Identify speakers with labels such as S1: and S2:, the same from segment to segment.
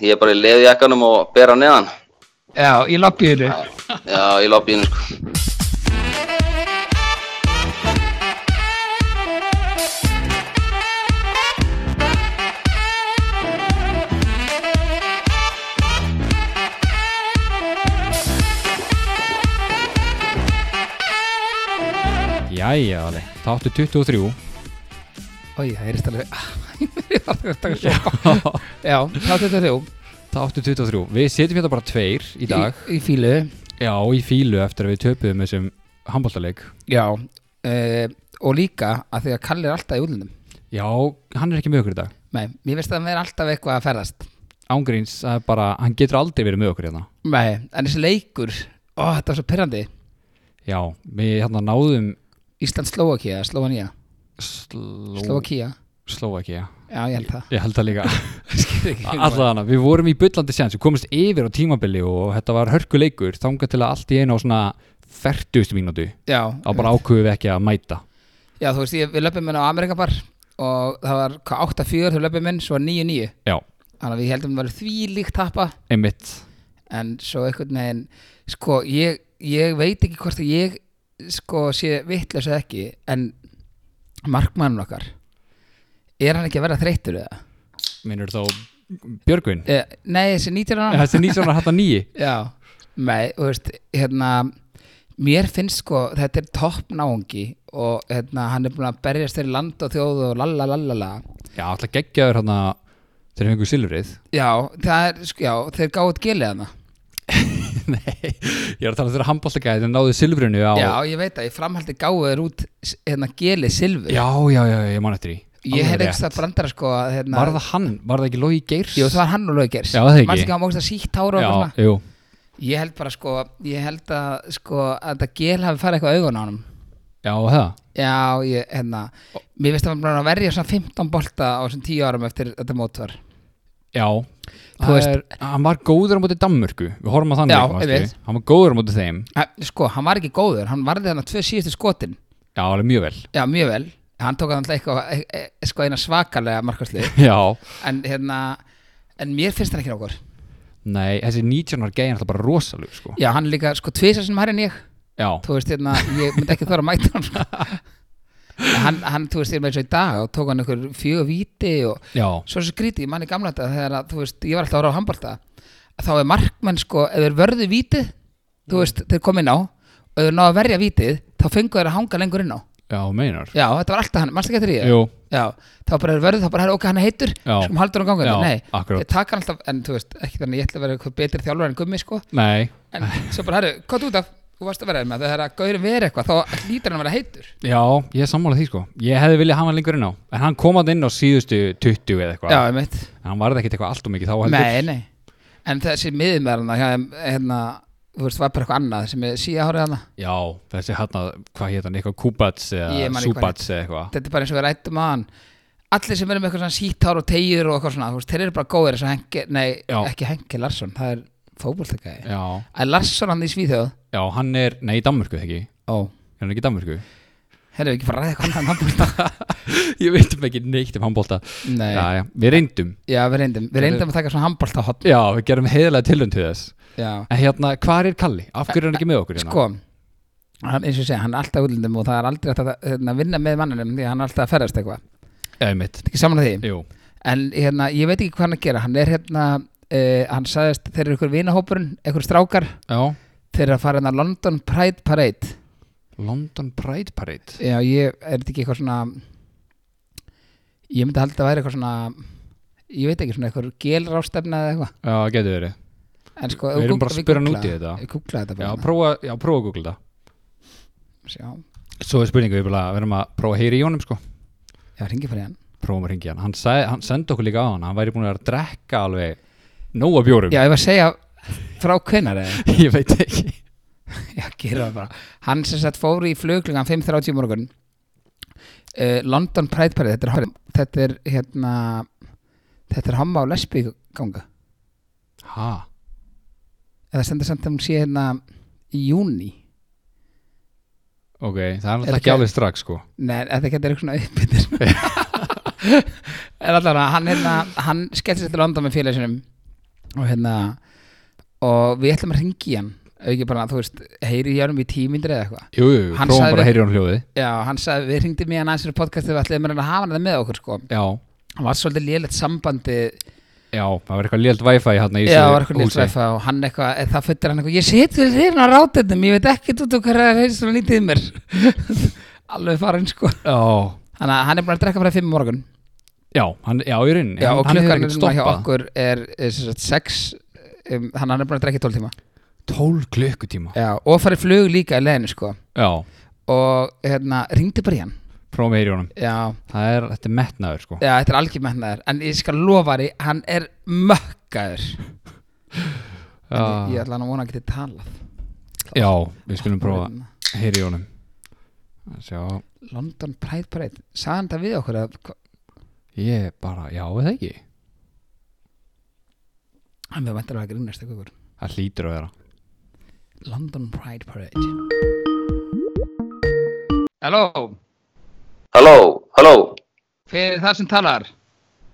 S1: ég er bara í leðjakkanum og bera neðan.
S2: Já, í lobbyinu.
S1: Já, í lobbyinu sko.
S3: Jæja, Óli, þáttu 23
S2: Ói, það er alveg, Ah, ég var alltaf að taka sopa. Já, þá þetta þrjú.
S3: Þáttu 23, við sitjum hérna bara tveir í dag
S2: Í, í fílu.
S3: Já, í fílu eftir að við töpuðum þessum handbóltaleik
S2: Já. Uh, og líka að því að Kalli er alltaf í útlunum.
S3: Já, hann er ekki með okkur í dag
S2: Nei, mér veist að hann er alltaf eitthvað að ferðast.
S3: Ángríns, það er bara, hann getur aldrei verið með okkur hérna
S2: Nei, en þessi leikur, ó, þetta var svo perrandi.
S3: Já, við hérna náðum
S2: Ísland Slóakía, Slóanía,
S3: Sló...
S2: Slóakía.
S3: Slóvakía
S2: Já, ég held það.
S3: Ég held það líka
S2: Skil ekki.
S3: Allavega, við vorum í byllandi séns, við komumst yfir á tímabili og þetta var hörkuleikur þangað til að allt í einu á svona 40 mínútu
S2: Já,
S3: þá bara ákveðum við ekki að mæta
S2: já, þú veist, ég, við löpum inn á Amerikabar og það var hvað, 8-4 þau löpum inn, svo 9-9.
S3: Já,
S2: Þannig að við heldum að það var þvílíkt tappa.
S3: einmitt
S2: en svo einhvern veginn sko ég, ég veit ekki hvort að ég sko sé vitlaus eða ekki en markmannun okkar er hann ekki að vera þreyttur eða?
S3: Minnur þá Björgvin
S2: E, nei, þessi 19 ára
S3: Þessi 19 ára hattar nýji
S2: Já, nei, þú veist, hérna mér finnst sko, þetta er topp náungi og hérna, hann er búin að berjast þeirri land og þjóð og lalla lalla la
S3: Já, alltaf geggjaður
S2: hérna
S3: hann að þeir fengu silfrið
S2: Já, það er, sko, já, þeir gáðu gilið hana
S3: Nei, ég er að tala um þeirra handbóltagæði þeir náðu silfrinu á
S2: Já, ég veit að ég framhaldi gáðu þeir út hérna gilið silfur
S3: já, já, já, já, ég man eftir því
S2: Ég
S3: Alveg
S2: hef
S3: rétt.
S2: ekki það brandara sko að, hérna,
S3: Var það hann, var það ekki Lógi Geirs?
S2: Jú, það var hann og Laugers
S3: Já, það ekki.
S2: Manstu ekki að mókst að sítt hára og
S3: Já,
S2: eitthvað svona
S3: jú
S2: Ég held bara sko, ég held að sko að þetta gel hafi farið eitthvað augun á honum
S3: Já, það
S2: Já, ég, hérna Mér veist að hann bara að verja svona 15 bolta á svona 10 árum eftir þetta mótvar
S3: Já
S2: Þú
S3: Það
S2: veist-
S3: er, hann var góður á móti Danmörku Við horfum á þannig
S2: Já, ég veit.
S3: Hann var góður á móti þeim
S2: Æ, Sko, hann var ekki góður, hann varði þarna tvö síðustu skotin
S3: Já, alveg mjög vel
S2: Já, mjög vel Hann tók hann eitthvað, e- e- sko eina svakalega markastlið
S3: Já
S2: En hérna, en mér finnst hann ekki nokkur
S3: Nei, þessi 19 ára gæði er alltaf bara rosalug sko.
S2: Já, hann er líka, sko, tvisar sem hærri en ég
S3: Já,
S2: þú veist hérna, ég myndi ekki þóra að mæta hann sko. En hann, hann, þú veist, ég með eins og í dag og tók hann einhver fjög víti og
S3: já,
S2: svo svo gríti, ég manni gamla þetta þegar að, þú veist, ég var alltaf að ára á handbalta þá er markmenn sko, ef þeir vörðu víti þú veist, þeir kom inn á og ef þeir ná að verja vítið, þá fengu þeir að hanga lengur inn á
S3: já, þú meinar
S2: já, þetta var alltaf hann, mannstu ekki eftir því
S3: Jú,
S2: já, þá bara er vörðu, þá bara er ok, hann er heitur
S3: Já.
S2: sem haldur hann gangandi,
S3: Já,
S2: nei,
S3: akkurat.
S2: ég taka hann alltaf en þú veist, ekki þannig að ég ætla að vera eitthvað betri þjálfur en gummi sko,
S3: nei
S2: en svo bara, herru, hvað þú út af þú varst að vera með þegar að gaurin verið eitthvað þá hlýtur hann að vera heitur
S3: Já, ég er sammála því sko Ég hefði viljað hafa hann lengur inn á En hann kom hann inn á síðustu 20 eða eitthvað
S2: já, ég veit,
S3: En hann varði ekkit eitthvað allt og mikið þá heldur
S2: nei, nei en þessi miðumverðan hérna, þú veist, var bara eitthvað annað sem er hérna. síða hárið hana
S3: Já, þessi hann að, hvað hétt hann, eitthvað Kubats
S2: Ég
S3: eða
S2: man ekki hvað
S3: Subats eða eitthvað
S2: þetta er bara eins og við rættum að hann allir sem eru með eitthvað svona síthár og tegjur og eitthvað svona, þú veist, þeir eru bara góðir eins og Henke, nei,
S3: Já.
S2: ekki Henke Larsson það er fótboltegæði
S3: Já,
S2: að Larsson hann í Svíþjóð
S3: já, hann er, nei, í Danmörku ekki Er
S2: ó,
S3: hann ekki í Danmörku?
S2: herru, ekki fara að ræða eitthvað annað en handbolta?
S3: Ég veit um ekki neitt um handbólta
S2: Nei.
S3: Já, já, við reyndum
S2: Já, við reyndum, við reyndum að taka svona handbólta hot
S3: Já, við gerum heiðlega tilhund til þess
S2: Já,
S3: En hérna, hvað er Kalli? Af hverju er hann ekki með okkur hérna?
S2: sko hann, eins og ég segi, hann er alltaf útlundum og það er aldrei hægt að hérna, vinna með manninum því að hann er alltaf að ferðast eitthvað Þetta
S3: Eða mitt
S2: er ekki saman að því
S3: Jú,
S2: en hérna, ég veit ekki hvað hann er að gera hann er hérna, uh, hann sagðist þeir eru ykkur vinahópurinn, ykkur strákar
S3: já
S2: þeir eru að fara hérna London Pride Parade
S3: London Pride Parade
S2: já, ég er þetta ekki eitthvað svona ég myndi halda að væri eitthvað svona ég veit ekki svona eitthvað gelrástefna eða eitthvað
S3: Já, getur verið
S2: en sko,
S3: Við erum bara að spyrja hann út í þetta.
S2: ég googla þetta
S3: Já,
S2: bara hérna.
S3: prófa, já, prófa að googla það
S2: já,
S3: Svo er spurningu, við bara verðum að prófa að heyra í honum sko
S2: já, ringi fyrir hann
S3: Prófum að ringi hann Hann, sag, hann sendi okkur líka á hann Hann væri búin að vera að drekka alveg Nóa bjórum
S2: já, ég var að segja frá hvenar eða
S3: Ég veit ekki
S2: Já, gera það bara Hann sem sagt fór í fluglingan 5.30 í morgun uh, London Pride Parade Þetta er, hor- þetta er hérna Þetta er homma og lesbí ganga
S3: Ha?
S2: Eða stendur samt að hún sé hérna í júni
S3: Ok, það er
S2: Er
S3: alltaf ekki
S2: ekki-
S3: alveg strax sko
S2: Nei, þetta getur eitthvað svona uppbyttir En allavega, hann, hérna, hann skellt sér til London með félagsynum og hérna og við ætlum að ringi hann ef ekki bara, þú veist, heyri ég hann í tímindri eða eitthvað
S3: Jú, jú,
S2: Hann
S3: prófum bara
S2: sagði-
S3: að heyra hún hljóði
S2: já, hann sagði, við ringdi mig hann aðeins fyrir podcastið við ætlum að reyna að hafa hann það með okkur sko
S3: Já,
S2: hann var svolítið lélegt sambandi
S3: já, það var eitthvað lélt wifi hérna í
S2: já,
S3: þessu
S2: var eitthvað lítið
S3: húsi.
S2: svæfa og hann eitthvað, eða það föttir hann eitthvað ég seti þér hérna á rátetnum, ég veit ekkert út og hverja það er svona lítið í mér alveg farinn sko
S3: Já,
S2: hann, hann er búin að drekka frá fimm í morgun
S3: já, hann, já, í rauninni
S2: já,
S3: Hann-
S2: og
S3: hann hefur
S2: klukkan
S3: ekkert
S2: núna hjá
S3: stoppað.
S2: okkur er, er sem sagt, sex um, hann, hann er búin að drekka í 12 tíma
S3: 12 klukkutíma
S2: já, og farið flug líka í leiðinu sko
S3: Já,
S2: og hérna, ringdi bara í hann
S3: prófum að heyra hún
S2: já,
S3: Það er, þetta er metnaður sko
S2: já þetta er algjörmennæður en ég skal lofa þér, hann er mökkaður En ég, ég
S3: Já,
S2: ætla hann að vona að geti talað
S3: já við skulum prófa
S2: Hérna,
S3: að heyra í honum Sjá,
S2: London Pride Parade, sagði hann það við okkur að, hva-
S3: ég bara, já, eða ekki
S2: hann við vantar að grínast eitthvað ykkur.
S3: Það hlýtur að vera
S2: London Pride Parade Halló,
S1: Halló, halló,
S2: hver er það sem talar?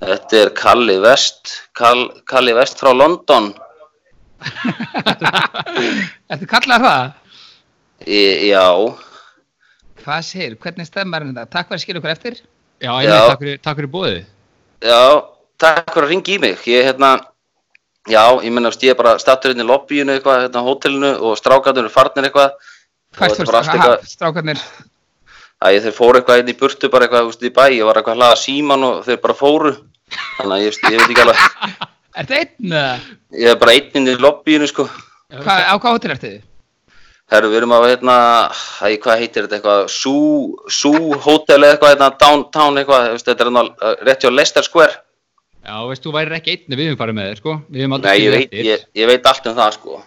S1: þetta er Kalli Vest, Kall, Kalli Vest frá London.
S2: Ertu kallar það?
S1: Í, já,
S2: Hvað segir, hvernig stemmar þetta? Takk fyrir að skilja okkur eftir
S3: Já,
S1: einmitt, Já. takk
S3: fyrir, takk fyrir bóðið
S1: já, takk fyrir að ringa í mig. Ég, hérna, já, ég menna, ég er bara stattur hérna í lobbyinu eitthvað, hérna á hótelinu og strákarnir eru farnir eitthvað. Og
S2: Hvert
S1: þetta er
S2: fórst
S1: bara allt
S2: það?
S1: eitthvað-
S2: Strákarnir
S1: Æ, þeir fóru eitthvað hérna í burtu, bara eitthvað, þú veist, í bæ, ég var eitthvað að hlaða síman og þeir bara fóru. Þannig að ég, ég veit ekki alveg,
S2: Ertu einn? eða?
S1: ég er bara einn inn í lobbyinu, sko.
S2: Hvað, á hvað hótel ertu?
S1: Herru, við erum á hérna, æ, hvað heitir þetta eitthvað, Sú, Sú Hotel eða eitthvað, hérna, Downtown eitthvað, þú veist, þetta er hérna uh, rétt hjá Leicester Square.
S3: Já, veist, þú værir ekki einn við höfum farið með þér, sko Við höfum
S1: Nei, ég veit, ég, ég veit allt um það, sko.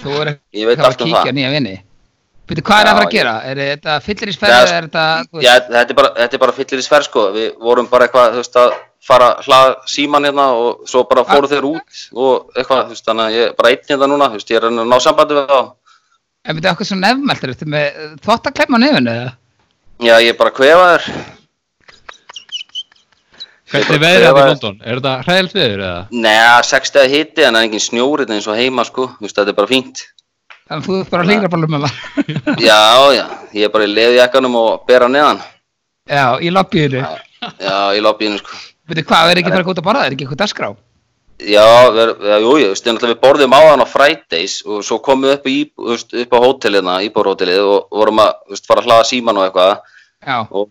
S2: Þú er
S1: Ég veit
S2: eitthvað að
S1: allt um
S2: kíkja
S1: það.
S2: nýja vini Býttu, hvað er það að fara að
S1: Já, ég-
S2: gera? Er þetta fyllirísferð?
S1: Já, sko-
S2: Er þetta, þú
S1: Já,
S2: veist,
S1: þetta er bara, þetta er bara fyllir í sver, sko. Við vorum bara eitthvað, þú veist, að fara að hlaða síman hérna og svo
S2: Ah.
S1: bara fóru þeir út og eitthvað, þú veist, þannig að ég er bara einn hérna núna, þú veist, ég er að reyna að ná sambandi við þá.
S2: en býttu okkur svona nefnmælt Ertu með þvottaklemma á nefnu? eða?
S1: Já, ég er bara kvefaður.
S3: Hvernig
S1: Ég bara-
S3: er veðrið
S1: ég
S3: þetta í
S1: var-
S3: London? Er þetta hræðilegt veður eða?
S1: Nei, 6 stegi hitti en það er engin snjórið eins og heima, sko. Þú veist, þetta er bara fínt.
S2: Þannig að þú ert bara að hlýra bólum með það
S1: Já, já, ég er bara í leðjakkanum og bera neðan.
S2: Já, í lobbyinu
S1: Já, í lobbyinu sko.
S2: Býttu, hvað, er ekki bara gótt að borða? Er ekki eitthvað dagskrá?
S1: Já, við, já, jú, ég veist, náttúrulega við borðum á hann á Fridays og svo komum við upp, í, íb- þú veist, upp á hótelina, íbórhótelið og vorum að þú veist, fara að hlaða síman og eitthvað.
S2: Já,
S1: Og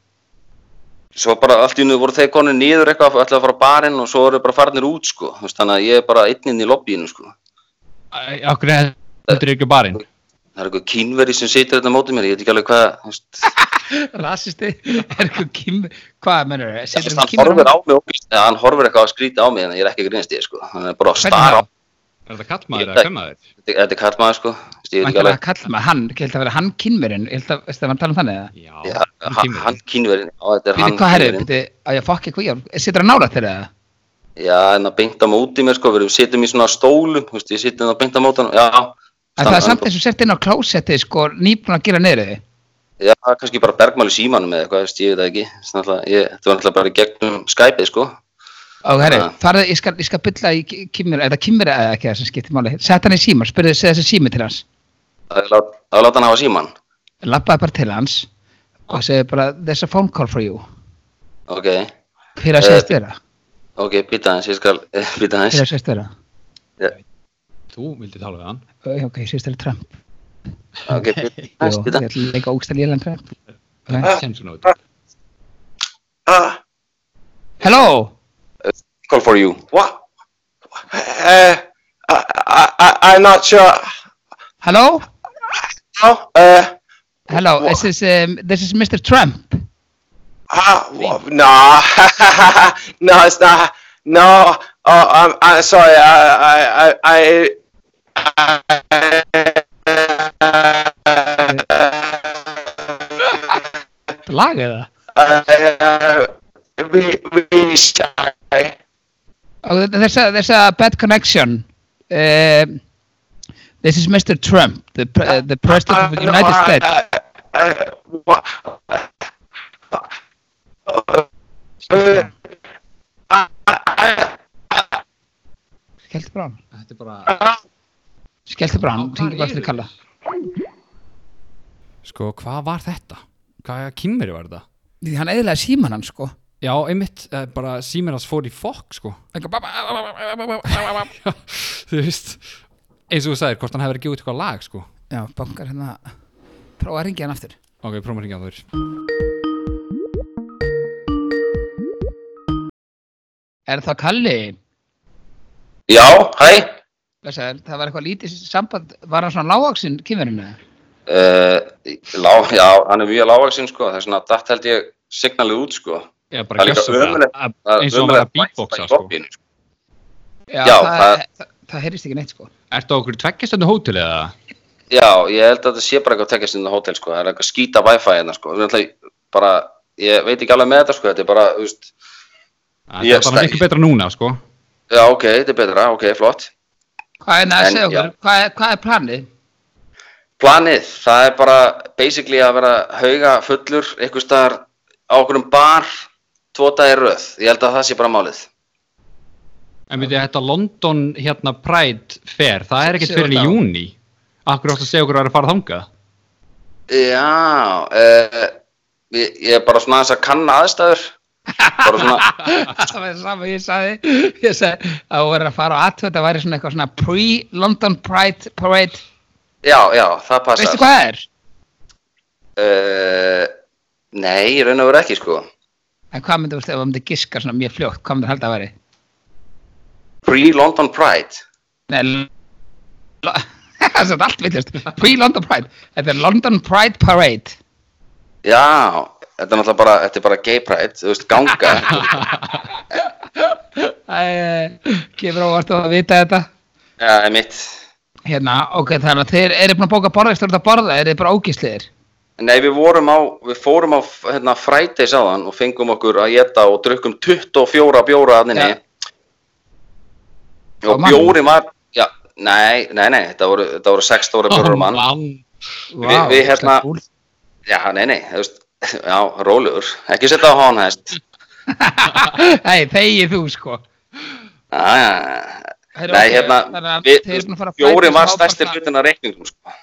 S1: svo bara allt í nú voru þeir konir niður eitthvað, ætlaði að fara á barinn og svo eru bara farnir út sko. Þú Veist, þannig að ég er bara einn inn í lobbyinu sko.
S3: Æ, Okkur er þetta ekki á barinn
S1: Það er eitthvað kínveri sem situr þetta mótið mér, ég veit ekki alveg hvað, þú veist,
S2: rasisti Er eitthvað kým Hvað, mennur, setur
S1: hann
S2: kýmur
S1: horfir á mig, og- ja, hann horfir eitthvað að skrýta á mig, en ég er ekki að grínast í þér sko, hann er bara að stara á
S3: Er þetta kallmaður
S1: Ég-
S3: eða kvemaður?
S1: Þetta þetta er karlmaður sko, Þú veist, ég veit ekki
S2: Mæntalega
S1: alveg,
S2: að kalla maður hann, ég held að vera hann kynverinn, ég held að, veistu að maður tala um þannig eða?
S3: Já, um
S1: Já,
S3: hann
S1: hann,
S3: kemur.
S1: hann kínverinn, já þetta er
S2: Býtu,
S1: hann
S2: hvað herrið,
S1: kínverinn.
S2: býtu, að ég fokk eitthvað í hann, situr hann nála þeirra eða?
S1: Já, en það beint á móti mér sko, við erum sittum í svona stólum, þú veist, ég sittum það beint á mótan, já.
S2: En það er samt eins og sett inn á klósetti, sko, nýbúin að gera niður þið.
S1: Já, kannski bara bergmáli símanum eða eitthvað, þú veist, ég veit það ekki, Þess að náttúrulega- ég- þetta var náttúrulega bara í gegnum Skype sko.
S2: Og herri,
S1: Ha.
S2: farðu, ég skal, ég skal bylla í kymur, er það kymur eða ekki það sem skiptir máli? Sett hann í símar, spurði þessi þessi sími til hans.
S1: Að láta, að láta hann hafa síman,
S2: Lappaði bara til hans og segi bara, there's a phone call for you.
S1: ok,
S2: Hver að
S1: Eh,
S2: segist vera?
S1: ok, býta hans, ég skal, býta
S2: Hver
S1: hans.
S2: að segist vera?
S3: Þú vildi tala við hann
S2: Ö, Ok, segist vera Trump.
S1: Ok, býta
S2: Jó,
S1: hans,
S2: ég
S1: býta
S2: ætla að leika ógsta lélan Trump. Ok.
S3: Það kemst svona út
S1: Ah,
S2: Hello!
S1: Call for you.
S4: What? Uh, I, I, I, I'm not sure.
S2: Hello?
S4: How? Uh,
S2: Hello,
S4: Wha-
S2: this is, um, this is Mr. Trump.
S4: how? No, no, it's not. No. Oh, I'm, I'm sorry. I, I, I, I.
S2: Lagið það?
S4: Uh, really, really shy.
S2: Oh, there's a there's a bad connection. Um, this is Mr. Trump, the pre- uh, the president of the United
S4: Ah.
S2: States.
S4: Uh, what? É. Eh. Ah, Uh, I, I,
S2: Skelti brann
S3: Þetta er bara
S2: Skelti brann,
S3: Hvar
S2: hringi bara
S3: eru
S2: til Kalla
S3: Sko, hvað var þetta? Hvað kýmveri var þetta?
S2: Því hann eðlaði síman hann sko
S3: Já, einmitt, eh, bara Sýmeras fór í fokk, sko
S2: Já,
S3: Þú veist Eins og þú sagðir, hvort hann hefur ekki út eitthvað lag, sko
S2: bankar hérna Prófa að ringja hann aftur
S3: Ok, prófum að ringja á þér
S2: Er það Kalli?
S1: Já, hæ
S2: Blessaður, Það var eitthvað lítið samband Var hann svona lágvaksinn kýmurinn eða?
S1: uh, lá, Já, hann er mjög lágvaksinn sko Þess vegna datt held ég signalið út sko
S3: Já,
S1: Það er líka
S3: gjörsamlega.
S1: ömurlegt.
S3: Að-
S1: Það er
S3: Eins og hann var að
S1: ömurlegt í
S3: beatboxa, sko
S1: lobbíinu, sko.
S2: Já,
S1: Já,
S2: það, það,
S1: það-
S2: það, heyrist ekki neitt sko
S3: Ertu á okkur tveggjastöndu hótel eða?
S1: Já, ég held að þetta sé bara eitthvað tekjast inn á hótel sko Það er eitthvað skýta wifi hérna sko Við erum alltaf bara, Ég veit ekki alveg með þetta sko Þetta er bara, þú veist
S3: Það
S1: Ég
S3: er bara
S1: stæ-
S3: miklu betra núna, sko
S1: Já, ok, þetta er betra, ok, flott
S2: Hvað er,
S1: En,
S2: næ, okkur,
S1: já.
S2: hvað er, hvað er planið?
S1: Planið, það er bara basically að vera hauga fullur einhver staðar á okkurum bar tvo dagir röð, ég held að það sé bara málið.
S3: En við þetta London hérna Pride Fair, það er ekkert
S2: Sjöunda
S3: fyrir í
S2: á.
S3: júni Akkur átt að segja okkur að vera að fara þangað
S1: Já, eh, ég, ég er bara svona aðeins að kanna aðstæður, bara svona,
S2: það var sama ég sagði ég sagði að þú verður að fara á aðtöð þetta væri svona eitthvað svona pre-London Pride Parade
S1: já, já, það passar.
S2: veistu hvað það er?
S1: Eh, nei, ég raun og veru ekki, sko.
S2: en hvað myndir þú veist ef þú myndir giska svona mjög fljótt hvað myndir halda að væri?
S1: Pre-London Pride.
S2: Nei, l- l- það er allt villist pre-London Pride þetta er London Pride Parade
S1: Já, þetta er náttúrulega bara, þetta er bara gay pride, þú veist, ganga.
S2: Æ, gefur ávart að vita þetta
S1: Já, einmitt.
S2: hérna ok þannig að þeir eru búin að bóka borða eftir að borða eru þið bara ógísliðir
S1: Nei, við vorum á, við fórum á hérna Fridays áðan og fengum okkur að geta og drukkum 24 bjóra að henni.
S2: Á
S1: Og
S2: mann?
S1: bjóri var, já, nei, nei, nei, þetta voru, þetta voru 6 stóra bjórar á mann. Við- við hérna- Já, nei, nei, þú veist, já, rólegur, ekki setja á hán hæst.
S2: Nei, þegið þú sko
S1: Já, já,
S2: Herra,
S1: nei,
S2: ok, þannig
S1: hérna,
S2: að
S1: við,
S2: þið eruð búin að fara að
S1: bjóri
S2: Fridays
S1: var
S2: og
S1: stærsti
S2: ábaka-
S1: hlutin að reikningum, sko.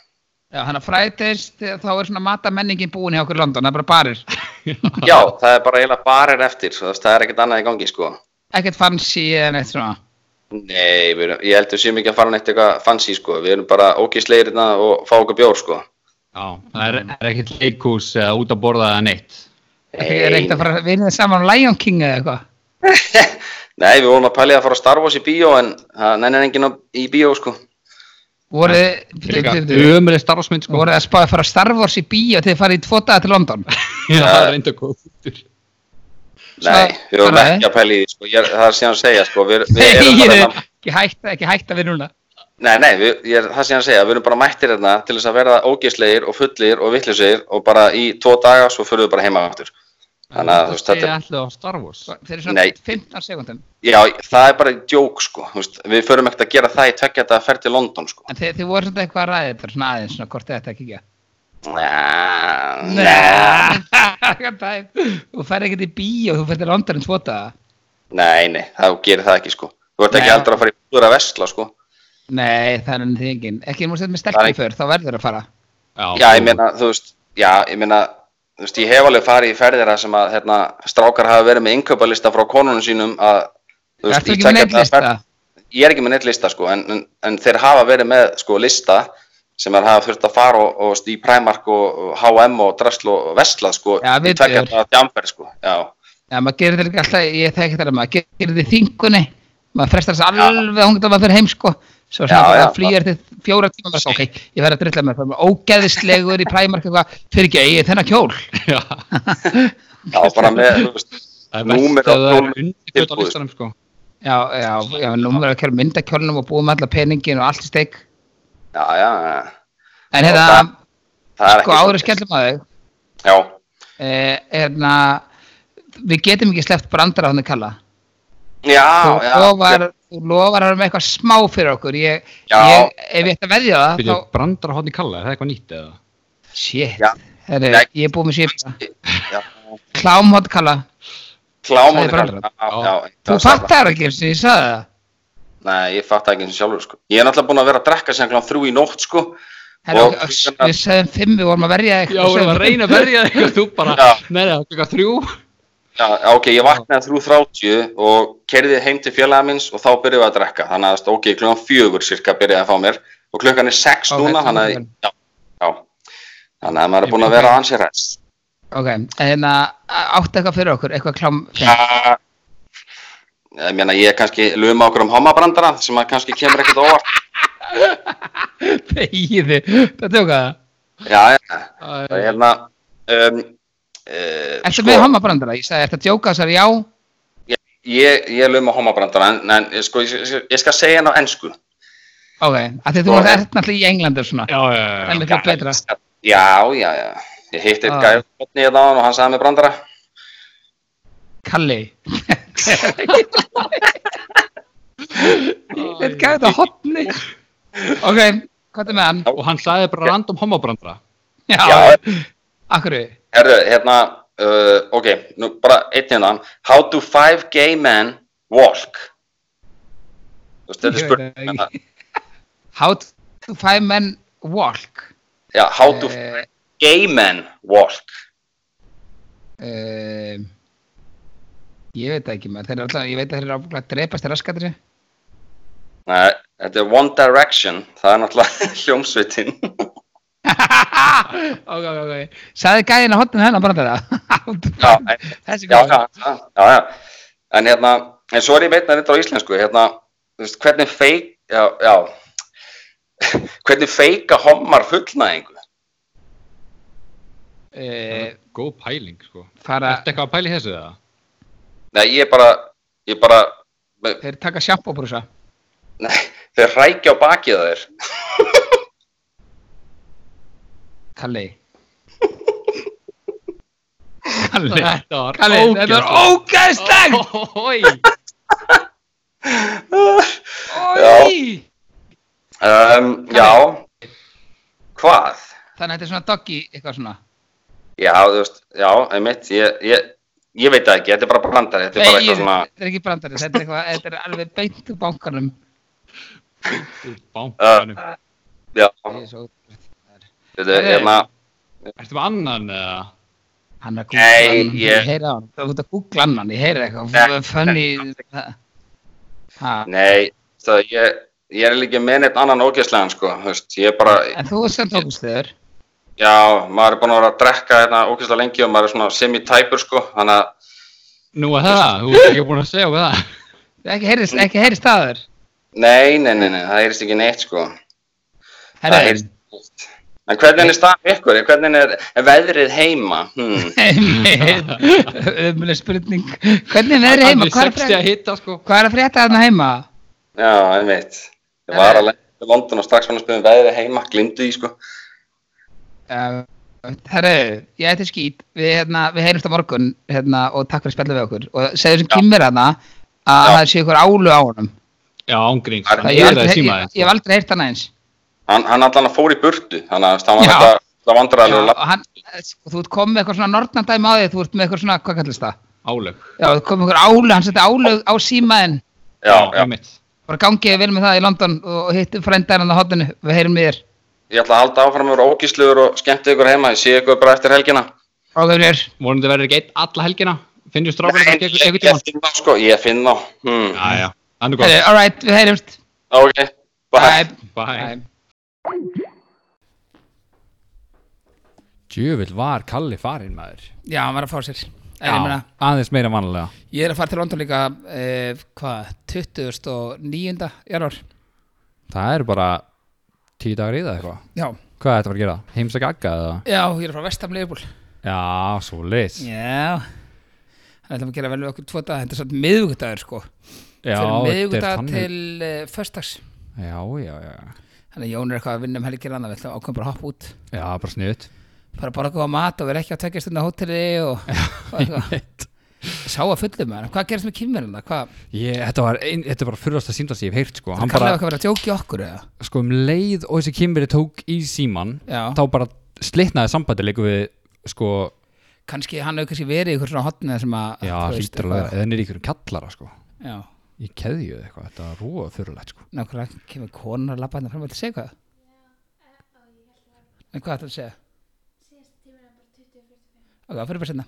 S2: Já, hann að frætis, þá er svona matamenningin búin hjá okkur í London, það er bara barir.
S1: Já, það er bara eiginlega barir eftir, þú veist, það er ekkert annað í gangi, sko.
S2: Ekkert fancy eða neitt svona.
S1: Nei, við erum, ég held við séum ekki að fara neitt eitthvað fancy sko, við erum bara ógisleirina og fá okkur bjór sko.
S3: Já, það er, er ekkert leikús eða út að borða eða neitt
S2: Hey. Er ekkert að fara að vinna saman um Lion King eða eitthvað?
S1: Nei, við vorum að pælið að fara að Star Wars í bíó en það nennir enginn á- í bíó sko.
S2: Voruð þið
S3: Ömurlega starfsmynd sko
S2: voru að spáði að fara á Star Wars í bíó til þið farið í tvo daga til London?
S3: Já, það er reynda góð fútur
S1: Nei,
S2: Sva-
S1: við vorum
S2: Nei.
S1: ekki að pælið sko, ég, er- það er síðan að segja sko, við, við
S2: Nei,
S1: erum
S2: ég
S1: bara
S2: er
S1: hérna,
S2: ekki hætta, ekki hætta við núna.
S1: nei, nei, við, ég, er- það er síðan að segja, við erum bara mættir hérna til þess að verða ógisleir og fullir og vittlisir og bara í tvo daga svo fyrir við bara heima aftur. Þannig að þú veist,
S3: þetta
S1: þetta
S3: er
S1: er,
S3: alltaf á Star Wars
S2: Þeir eru svona
S1: Nei.
S2: 15 sekundum.
S1: já, það er bara djók sko, þú veist, við förum ekkert að gera það í tökja þetta að fer til London sko.
S2: En þið, þið voru svona eitthvað að ræða þetta, svona aðeins, svona hvort þetta ekki ekki.
S1: Næ,
S2: Nei, þú ferð ekkert í bíó, þú ferð til London í tvo daga.
S1: Nei, nei, það gerir það ekki sko Þú ert ekki
S2: Nei.
S1: aldrei að fara í búður að vesla sko
S2: Nei, það er enn því engin. Ekki múið setja með
S1: Það er
S2: stelpum
S1: ekki-
S2: fyrr, þá verður að fara.
S1: Já, ég meina, þú veist Já, ég meina, þú veist, ég hef alveg farið í ferðir að sem að, hérna, strákar hafa verið með innkaupalista frá konunum sínum að þú
S2: Ertu
S1: í
S2: ekki með
S1: tveggja daga
S2: neitt
S1: ferð- Ég er ekki með neitt lista sko en, en, en þeir hafa verið með sko lista sem er hafa þurft að fara og, og veist, í Primark og og H&M og Dressl og Vesla sko
S2: Já,
S1: í
S2: við
S1: tveggja
S2: bjór.
S1: daga þjamferð sko Já,
S2: Já, maður gerir þetta líka alltaf, ég þekki þetta, maður gerir þetta í þingunni, maður frestar þess alveg að hún maður fyrir heim, sko. Svo svona
S1: Já,
S2: þegar
S1: já,
S2: það flýjar til fjóra tíma, maður svo, ok, ég verð að drilla með það, ógeðislegur í præmark eitthvað, fyrir ekki, ég er þennan kjól.
S3: Já,
S1: já bara með, þú veist
S3: það er
S1: Númer
S3: best
S1: á
S3: að það er
S1: kjólnum
S3: undirkjöld á
S1: tilbúið.
S3: listanum sko
S2: Já, já, já, nú verður að kjæra mynda kjólnum og búa með alla peningin og allt í steik.
S1: Já, já, já,
S2: En
S1: Já,
S2: hérna,
S1: það- það er ekki
S2: sko áður
S1: svoleiðis.
S2: skellum að þau,
S1: Já,
S2: eh, hérna, við getum ekki sleppt brandara þannig kalla.
S1: já, já
S2: Þú lofar, þú lofar að vera með eitthvað smá fyrir okkur, ég,
S1: Já.
S2: ég, ef ég ætti að veðja það,
S3: Fyrir brandar á hotni kalla, er það eitthvað nýtt eða?
S2: þá, shit,
S1: Já.
S2: herri,
S1: Nei.
S2: ég er búið með síðan.
S1: Já,
S2: Klámhótt kalla,
S1: klámóni
S2: Sagði Brandr.
S1: já, já,
S2: þú
S1: já, sagði
S2: fattar ekki eins og ég sagði það.
S1: Nei, ég fatt ekki eins og sjálfur sko. Ég er náttúrulega búin að vera að drekka sem glán þrjú í nótt sko.
S2: Herra,
S1: Og-
S2: ok, við segðum fimm, við vorum að verja þig
S3: Já,
S2: Við
S3: við
S2: sögðum
S3: erum
S2: fimm.
S3: að reyna að verja þig og þú bara,
S1: Já.
S3: neða, klukka þrjú.
S1: Já, já, ok, ég vaknaði þrjú þráttíu og kerði heim til félaga minns og þá byrjuði við að drekka. Þannig að ok, klukkan fjögur cirka byrjuði að fá mér og klukkan er sex
S2: Á,
S1: núna,
S2: þetta er
S1: þannig að,
S2: klukkan.
S1: já, já. Þannig að maður er búin að vera ansi ræst.
S2: Ok, en áttu eitthvað fyrir okkur, eitthvað klám
S1: Já, ég meina ég er kannski luma okkur um homabrandara sem að kannski kemur ekkert á óvart.
S2: Þegiði, það tjóka það
S1: Já, já, það er
S3: Æ,
S1: hérna, um, uh,
S2: Ertu með hammabrandara? Ég sagði, ertu að djóka þessar já?
S1: ég, ég luma homabrandara en, en eh, sko, ég, ég- ég skal segja hann á ensku.
S2: Ok, að þið þú
S1: Sko, en-
S2: ert náttúrulega í Englandi og svona
S3: Já, já, já,
S2: En
S3: já.
S2: mikla betra
S1: Já, já, já, ég hitti
S2: Ah.
S1: eitt gæf hotni hérna á hann og hann sagði með brandara.
S2: Kalli Þetta gæði þetta hotni Ok, hvað er með hann?
S3: Og hann sagði bara random homobrandra.
S1: Já.
S2: Já, akkur
S1: Herru, hérna, uh, ok, nú bara einn hérna, how do five gay men walk? Þú veist, þetta er
S2: Ég veit það
S1: spurning, um
S2: ekki. How to five men walk
S1: já, how do
S2: Eh,
S1: gay men walk?
S2: eh, Ég veit það ekki maður, þeir eru alltaf, ég veit að þeir eru ábúinlega að drepast í raskatri
S1: Nei, þetta er One Direction, það er náttúrulega hljómsveitin.
S2: ok, ok, ok. Saði gæðin að hotnum hennar hérna, bara
S1: já,
S2: þetta.
S1: en,
S2: Þessi
S1: já,
S2: gæðin.
S1: já, já, já, já. En hérna, en svo er ég veitna þetta á íslensku, hérna, þú veist, hvernig feik, já, já, hvernig feika homar fullnæðingu?
S2: Eh,
S3: Góð pæling, sko.
S2: fara,
S3: Ertu eitthvað að pæli þessu eða?
S1: Nei, ég bara, ég bara,
S2: þeir taka sjampóbrúsa.
S1: nei, þeir rækja á bakið á þér.
S2: Kalli.
S3: Kalli, þetta var
S2: Kalli, þetta er ógæðslegt!
S3: ógæðslegt.
S2: Oj!
S1: Um, já, hvað?
S2: Þannig að þetta er svona doggy, eitthvað svona.
S1: Já, þú veist, já, einmitt, ég, ég, ég veit það ekki, þetta er bara brandari, þetta er bara
S2: Nei, ég-
S1: eitthvað svona...
S2: þetta er ekki brandari, þetta er, eitthvað, þetta er alveg beint úr bankanum.
S3: Bánkanum.
S1: Já,
S2: Ég er Svo,
S1: þetta er hérna,
S3: Ertu með annan eða?
S2: hann er að googla
S1: Nei,
S2: annan,
S1: ég-
S2: ég heyra hann. Það er út að googla annan, ég heyra eitthvað.
S1: Nei,
S2: Funny. Ha.
S1: nei, það ég, ég er líka með neitt annan ógeðslegan, sko, þú veist, ég er bara,
S2: En þú er sem tókustöður.
S1: já, maður er búin að vera að drekka hérna ógeðslega lengi og maður er svona semi-tæpur, sko, þannig að,
S3: Nú að það, þú ert ekki búin að segja okkur það.
S2: Ekki heyrist, ekki heyrist að þér.
S1: nei, nei, nei, nei, það heyrist ekki neitt, sko.
S2: Herra,
S1: Það heyrist ekki neitt. En hvernig er staðan hjá ykkur, hvernig er, er veðrið heima, hmm,
S2: Ömuleg spurning Hvernig er veðrið heima? Hvað er að
S3: Hann er 60 að
S2: frétta-
S3: hitta, sko.
S2: hvað er að frétta þarna heima?
S1: já, einmitt, ég var að lenda í London og strax fann að spila um veðrið heima, glindu því, sko,
S2: Uh, Herru, ég ætti skýt Við, hérna, við heyrumst á morgun hérna, og takk fyrir að spjalla við okkur og segðu sem
S1: Já.
S2: kýmur hana að
S1: Já.
S2: það sé ykkur álu á honum
S3: Já, ángríns.
S1: Það-
S2: Það
S3: Hann
S2: ég, hef
S3: er að
S2: aldrei,
S3: síma sko.
S2: ég, ég hef aldrei heyrt hana eins
S1: hann, hann allan að fór í burtu, þannig að hann var
S2: Já.
S1: þetta, þetta
S2: Já,
S1: vandræðilega,
S2: og hann, og þú ert komið með eitthvað svona nortnandæmi á þig, þú ert með eitthvað svona, hvað kallast það?
S3: Álög.
S2: Já, þú ert komið með eitthvað álu, hann setja álu á símaðinn
S1: já, já,
S3: einmitt.
S2: bara gangið vel með það í London og hittum frændarinn á hotinu, við heyrum í þér
S1: ég ætla að halda áfram að vera ógísluður og skemmta ykkur heima, ég sé ykkur bara eftir helgina.
S2: Ráðgöfnir,
S3: Vonandi verður ekki eitt alla helgina. Finnur strákana
S1: Nei,
S3: bara ekki eitthvað tíma.
S1: Ég finn þá sko, ég finn þá. Hmm.
S3: Já, já. Þannig gott.
S2: Eh, all right, við heyrumst
S1: Ok, bye.
S2: Bye.
S3: Bye.
S2: Bye.
S3: Djöfull var Kalli farinn maður.
S2: Já, hann var að fá sér en
S3: Já,
S2: ég, meina,
S3: aðeins meira vanlega.
S2: ég er að fara til London líka eh, hvað, 29. janúar
S3: Það eru bara tíu dagar í það eitthvað.
S2: já.
S3: Hvað er þetta að fara að gera? Heimsæk agga eða?
S2: já, ég er að fara vestam leifbúl
S3: Já, svo leys.
S2: Já Þannig ætlum að gera vel við okkur tvo dag Þetta er svolítið miðvikudagur sko
S3: Já,
S2: Fyrir
S3: þetta er
S2: miðvikudag
S3: þannig.
S2: til uh, föstags
S3: Já, já, já.
S2: Þannig að Jón er eitthvað að vinna um helgir annað Við ætlum ákveðum bara að hoppa út
S3: Já, bara sniðut.
S2: Bara bara góða mat og vera ekki á tvekja stundna hóteli og, og eitthvað. Sá að fullum með hann Hvað gerist með kýmverðina? Hvað,
S3: Ég, þetta var, ein, þetta var fyrirasta símtast ég hef heyrt sko. Hann
S2: kallar það
S3: bara,
S2: eitthvað að vera að djóki okkur eða?
S3: sko um leið og þessi kimberi tók í síman,
S2: Já.
S3: þá bara slitnaði sambandi leikum við, sko,
S2: kannski hann hefur kannski verið í ykkur svona hotnið sem að
S3: já,
S2: þú veist,
S3: hlýtur alveg,
S2: eitthvað-
S3: eða niður í ykkur kallara sko.
S2: já,
S3: í keðju eða eitthvað, þetta var rúa þurrulegt sko.
S2: Nákvæmlega kemur konar að labba hérna fram og til að segja eitthvað. En hvað ætlar að segja? Ok, það fyrir bara sinna.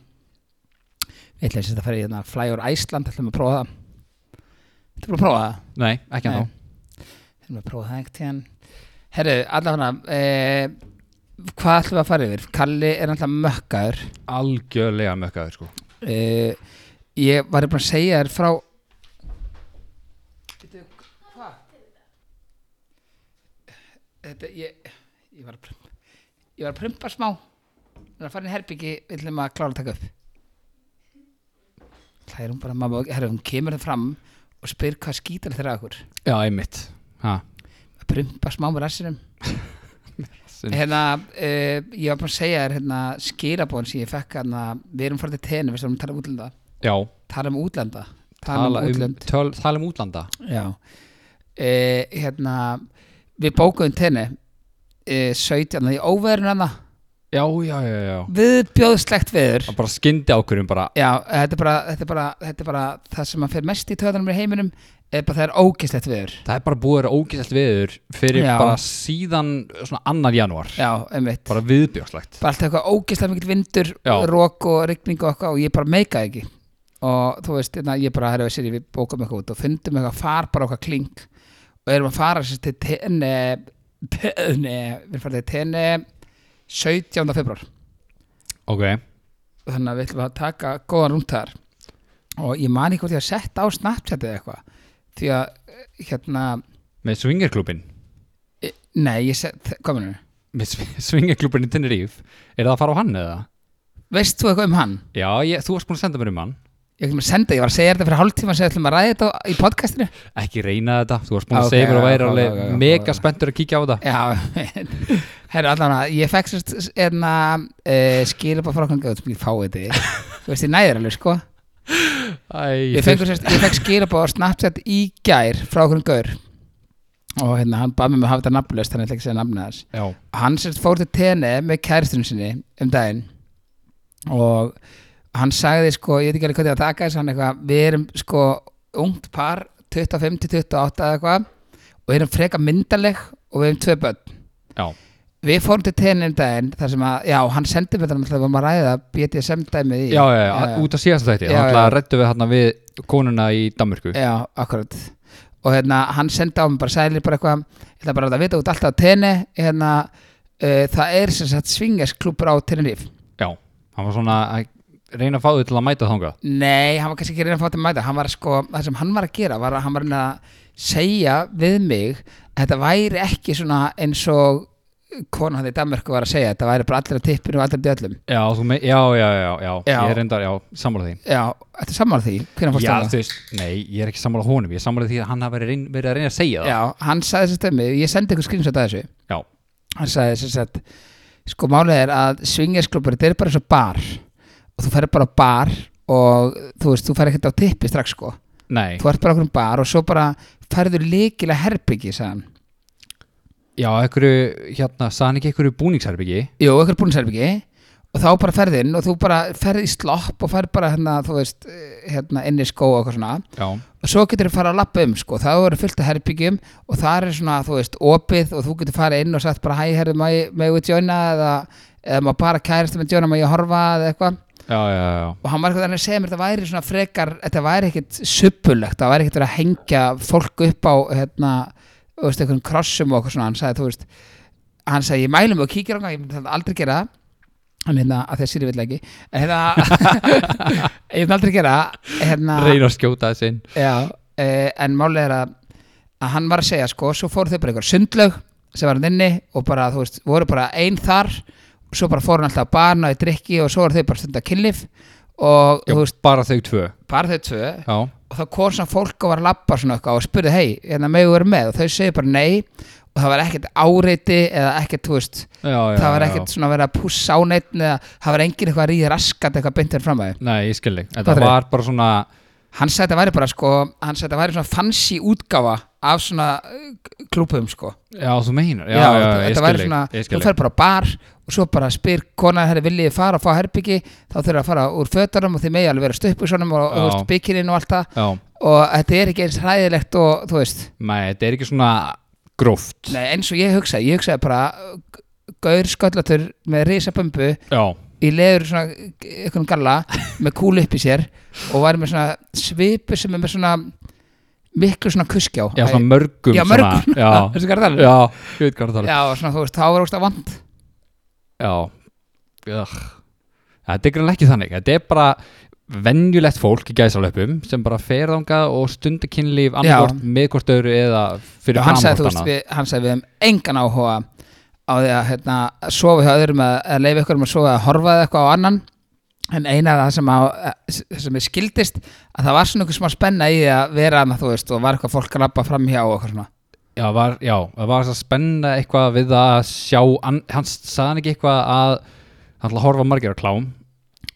S2: Við ætlum að þetta fara í hérna Fly over Iceland, ætlum að prófa það. Þetta er bara að prófa það.
S3: Nei, ekki
S2: Nei.
S3: ennþá.
S2: Við ætlum að prófa það ekkert hérna. Herru, allavega eh, hvað ætlum við að fara yfir? Kalli er alltaf mökkaður.
S3: Algjörlega mökkaður sko.
S2: Eh, ég var bara að segja þér frá... Veitu, hvað? Þetta, ég, ég var að prumpa, ég var að prumpa smá. Við erum að fara inn í herbyggi, við ætlum að klára að taka upp. Það er hún bara, mamma, herru, hún kemur það fram og spyr hvað skítar þeirra að okkur.
S3: Já, einmitt. Ha.
S2: Að prumpa smá með rassinum.
S3: Eh,
S2: hérna, uh, ég var bara að segja þér hérna, skilabón sem ég fekk hérna, við erum farið til tenni, við erum að tala um útlanda
S3: Já,
S2: tala um útlanda tala um
S3: tala um,
S2: útlönd
S3: töl, tala um útlanda.
S2: já uh, hérna, við bókuðum tenni uh, 17, í óveðurinn hana
S3: Já, já, já, já.
S2: viðbjóðslegt veður
S3: Það bara skyndi ákvörðum bara,
S2: já, þetta er bara, þetta er bara, þetta er bara það sem að fer mest í töðanum í heiminum er bara það er ógislegt veður
S3: það er bara búið að vera ógæslegt veður fyrir
S2: Já.
S3: bara síðan svona annar janúar.
S2: já, einmitt bara
S3: Bara viðbjörslegt.
S2: allt eitthvað ógislega mikill vindur
S3: Já.
S2: rók og rigning og eitthvað og ég bara meika ekki og þú veist, hérna, ég bara herra við sér við bókum eitthvað út og fundum eitthvað far bara okkar kling og erum að fara sér til tenni tenni, við farum til tenni 17. februar
S3: Ok,
S2: þannig að við ætlum að taka góðan rúnt þar og ég man ekki hvort ég að setja á Snapchat eða eitthvað því að, hérna
S3: með swingerklubin.
S2: e- nei, ég set, hvað mennur
S3: Með swingerklubin í Tenerife. Er það að fara á hann eða?
S2: veist þú eitthvað um hann?
S3: Já, ég, þú varst búin að senda mér um hann.
S2: Ég, ætlum að senda, ég var að segja þér þetta fyrir hálftíma sem við ætlum að ræða þetta á- í podcastinu
S3: Ekki reyna þetta. Þú varst búin
S2: Ok,
S3: að segja mér að
S2: já,
S3: væri
S2: já,
S3: alveg
S2: já, já, já.
S3: mega spenntur að kíkja á það.
S2: Já, herru allan að ég fekk sérst enna uh, skilur bara frá okkur að ég fái þetta þú veist ég næður alveg sko
S3: Æ,
S2: ég, fengur, sérst, ég fekk skilur bara Snapchat í gær frá okkur gaur og hérna hann bað mér með að hafa þetta nafnlaust þannig að ég ætla ekki að segja nafna þess
S3: Já,
S2: hann sérst fór til TNE með kæristunum sinni um daginn og hann sagði sko, ég veit ekki alveg hvað ég á að taka þess hann eitthvað, við erum sko ungt par, 25 til 28 eða eitthvað og erum freka myndaleg og við erum tvö börn
S3: já,
S2: Við fórum til tennin daginn þar sem að, já, hann sendi mér þannig að við varum að ræða BDSM dæmið í
S3: já, já, já, út af síðast þætti
S2: Já,
S3: Þannig að
S2: já.
S3: rættu við hérna við konuna í Danmörku
S2: Já, akkurat Og hérna, hann sendi á mig bara sælir bara eitthvað Ég ætla bara að láta vita út alltaf á tenni Hérna, uh, það er sem sagt svingasklúpur á Tenerife
S3: Já, hann var svona að reyna að fá þau til að mæta þangað
S2: Nei, hann var kannski ekki að reyna að fá þetta að mæta Hann var sko, það sem hann var að gera var að hann var að reyna að segja við mig að þetta væri ekki svona eins og kona hann í Danmörku var að segja þetta væri bara allir að tippinu og allir að döllum
S3: Já, þú með, já, já, já, já,
S2: Já.
S3: ég er reyndar, já, sammála því
S2: Já, þetta er sammála því, hvernig fórstu
S3: Já,
S2: að það?
S3: þú veist, nei, ég er ekki sammála honum Ég er sammála því að hann hafi verið, reyn- verið að reyna að segja það
S2: Já, hann sagði sér stemmi, ég sendi ykkur skrýmsönd að þessu
S3: Já,
S2: hann sagði sér sett sko málið er að swingersklubur þetta er bara eins og bar og þú ferð bara á bar og þú veist, þú ferð ekkert á tippi strax sko
S3: nei,
S2: þú ert bara okkur um bar og svo bara ferður líkilega herbyggi, sagði hann
S3: já, einhverju, hérna, sagði hann ekki einhverju búningsherbyggi
S2: Jú, ykkur búnisherbyggi og þá bara ferð inn og þú bara ferð í slopp og ferð bara hérna, þú veist eh, hérna inn í skó og eitthvað svona
S3: Já,
S2: og svo getur þú fara að lappa um sko, það eru fullt af herbyggjum og það er svona, þú veist, opið og þú getur fara inn og sagt bara hæ, herðu, má ég- megum við djóna eða, eða má bara kærist með djóna, má ég horfa eða eitthvað
S3: já, já, já, já.
S2: og hann var eitthvað þannig að segja mér þetta væri svona frekar, þetta væri ekkit suppulegt, það væri ekkit verið að hengja fólk upp á hérna, þú veist, einhvern krossum og eitthvað svona, hann sagði, þú veist hann sagði, ég mælum og kíkir á hann, ég myndi þetta aldrei gera það. en hérna, að þessi er vill ekki en hérna ég myndi aldrei gera það, hérna,
S3: Reyna að skjóta þessi inn sko.
S2: Já, eh, en málið er að, að hann var að segja sko, svo fóru þau bara einhver sundlaug sem var hann inni og bara, þú veist, voru bara einn þar og svo bara fóru hann alltaf að barna í drikki og svo voru þau bara stundar kynlif og
S3: Já,
S2: þú veist,
S3: bara þau tvö Já,
S2: bara þau tvö og þá kom svona fólk og var að labba svona eitthvað og spurði, hei, hérna megu verið með og þau segi bara nei og það var ekkert áreiti eða ekkert, þú veist,
S3: já, já
S2: það var
S3: já.
S2: ekkert svona að vera að pússa á neitt eða það var engin eitthvað að ríða raskat eitthvað beintir fram að þau
S3: Nei, ég skil þig, þetta
S2: Hvað er-
S3: var bara svona
S2: hann sagði þetta væri bara sko hann sagði þetta væri svona fancy útgáfa af svona uh, klúpum sko
S3: Já, þú meinar, já, já, já, ég
S2: þetta
S3: skil
S2: væri
S3: þig,
S2: svona,
S3: ég
S2: þú
S3: skil þig
S2: fer bara á bar og svo bara spyr kona herri viljið þið fara og fá herbyggi þá þurfa að fara úr fötunum og þið megi alveg vera stöppu svonum og, og
S3: Já.
S2: þú veist, bikinin og allt það
S3: Já,
S2: og þetta er ekki eins hræðilegt og þú veist
S3: Nei, þetta er ekki svona gróft
S2: Nei, eins og ég hugsaði, ég hugsaði bara g- gaur sköllatur með risabömbu
S3: Já,
S2: í leður svona einhvern galla með kúlu upp í sér og var með svona svipu sem er með svona miklu svona kuskjá
S3: já svona mörgum
S2: Já, mörgum.
S3: svona, já,
S2: Þessi garðal
S3: já, ég veit hvað um. það er
S2: Já, og svona þú veist, þá var ógst að vant
S3: Já, Ugh. Þetta er greinlega ekki þannig Þetta er bara venjulegt fólk í gæsalöpum sem bara fer þangað og stunda kynlíf annarkort með hvort öðru eða fyrir
S2: og hann sagði, þú
S3: framhort
S2: veist,
S3: annað
S2: við, hann sagði við um engan áhuga á því að hérna, sofa hjá öðrum að, að leifa ykkur um að sofa að horfa eða eitthvað á annan en eina af það sem, á, e, sem er skildist að það var svona ykkur smá spenna í því að vera að þú veist og var eitthvað fólk að labba fram hjá og eitthvað svona
S3: Já, var, já, það var að spenna eitthvað við að sjá an, hann sagði hann ekki eitthvað að hann ætla að horfa á margir á klám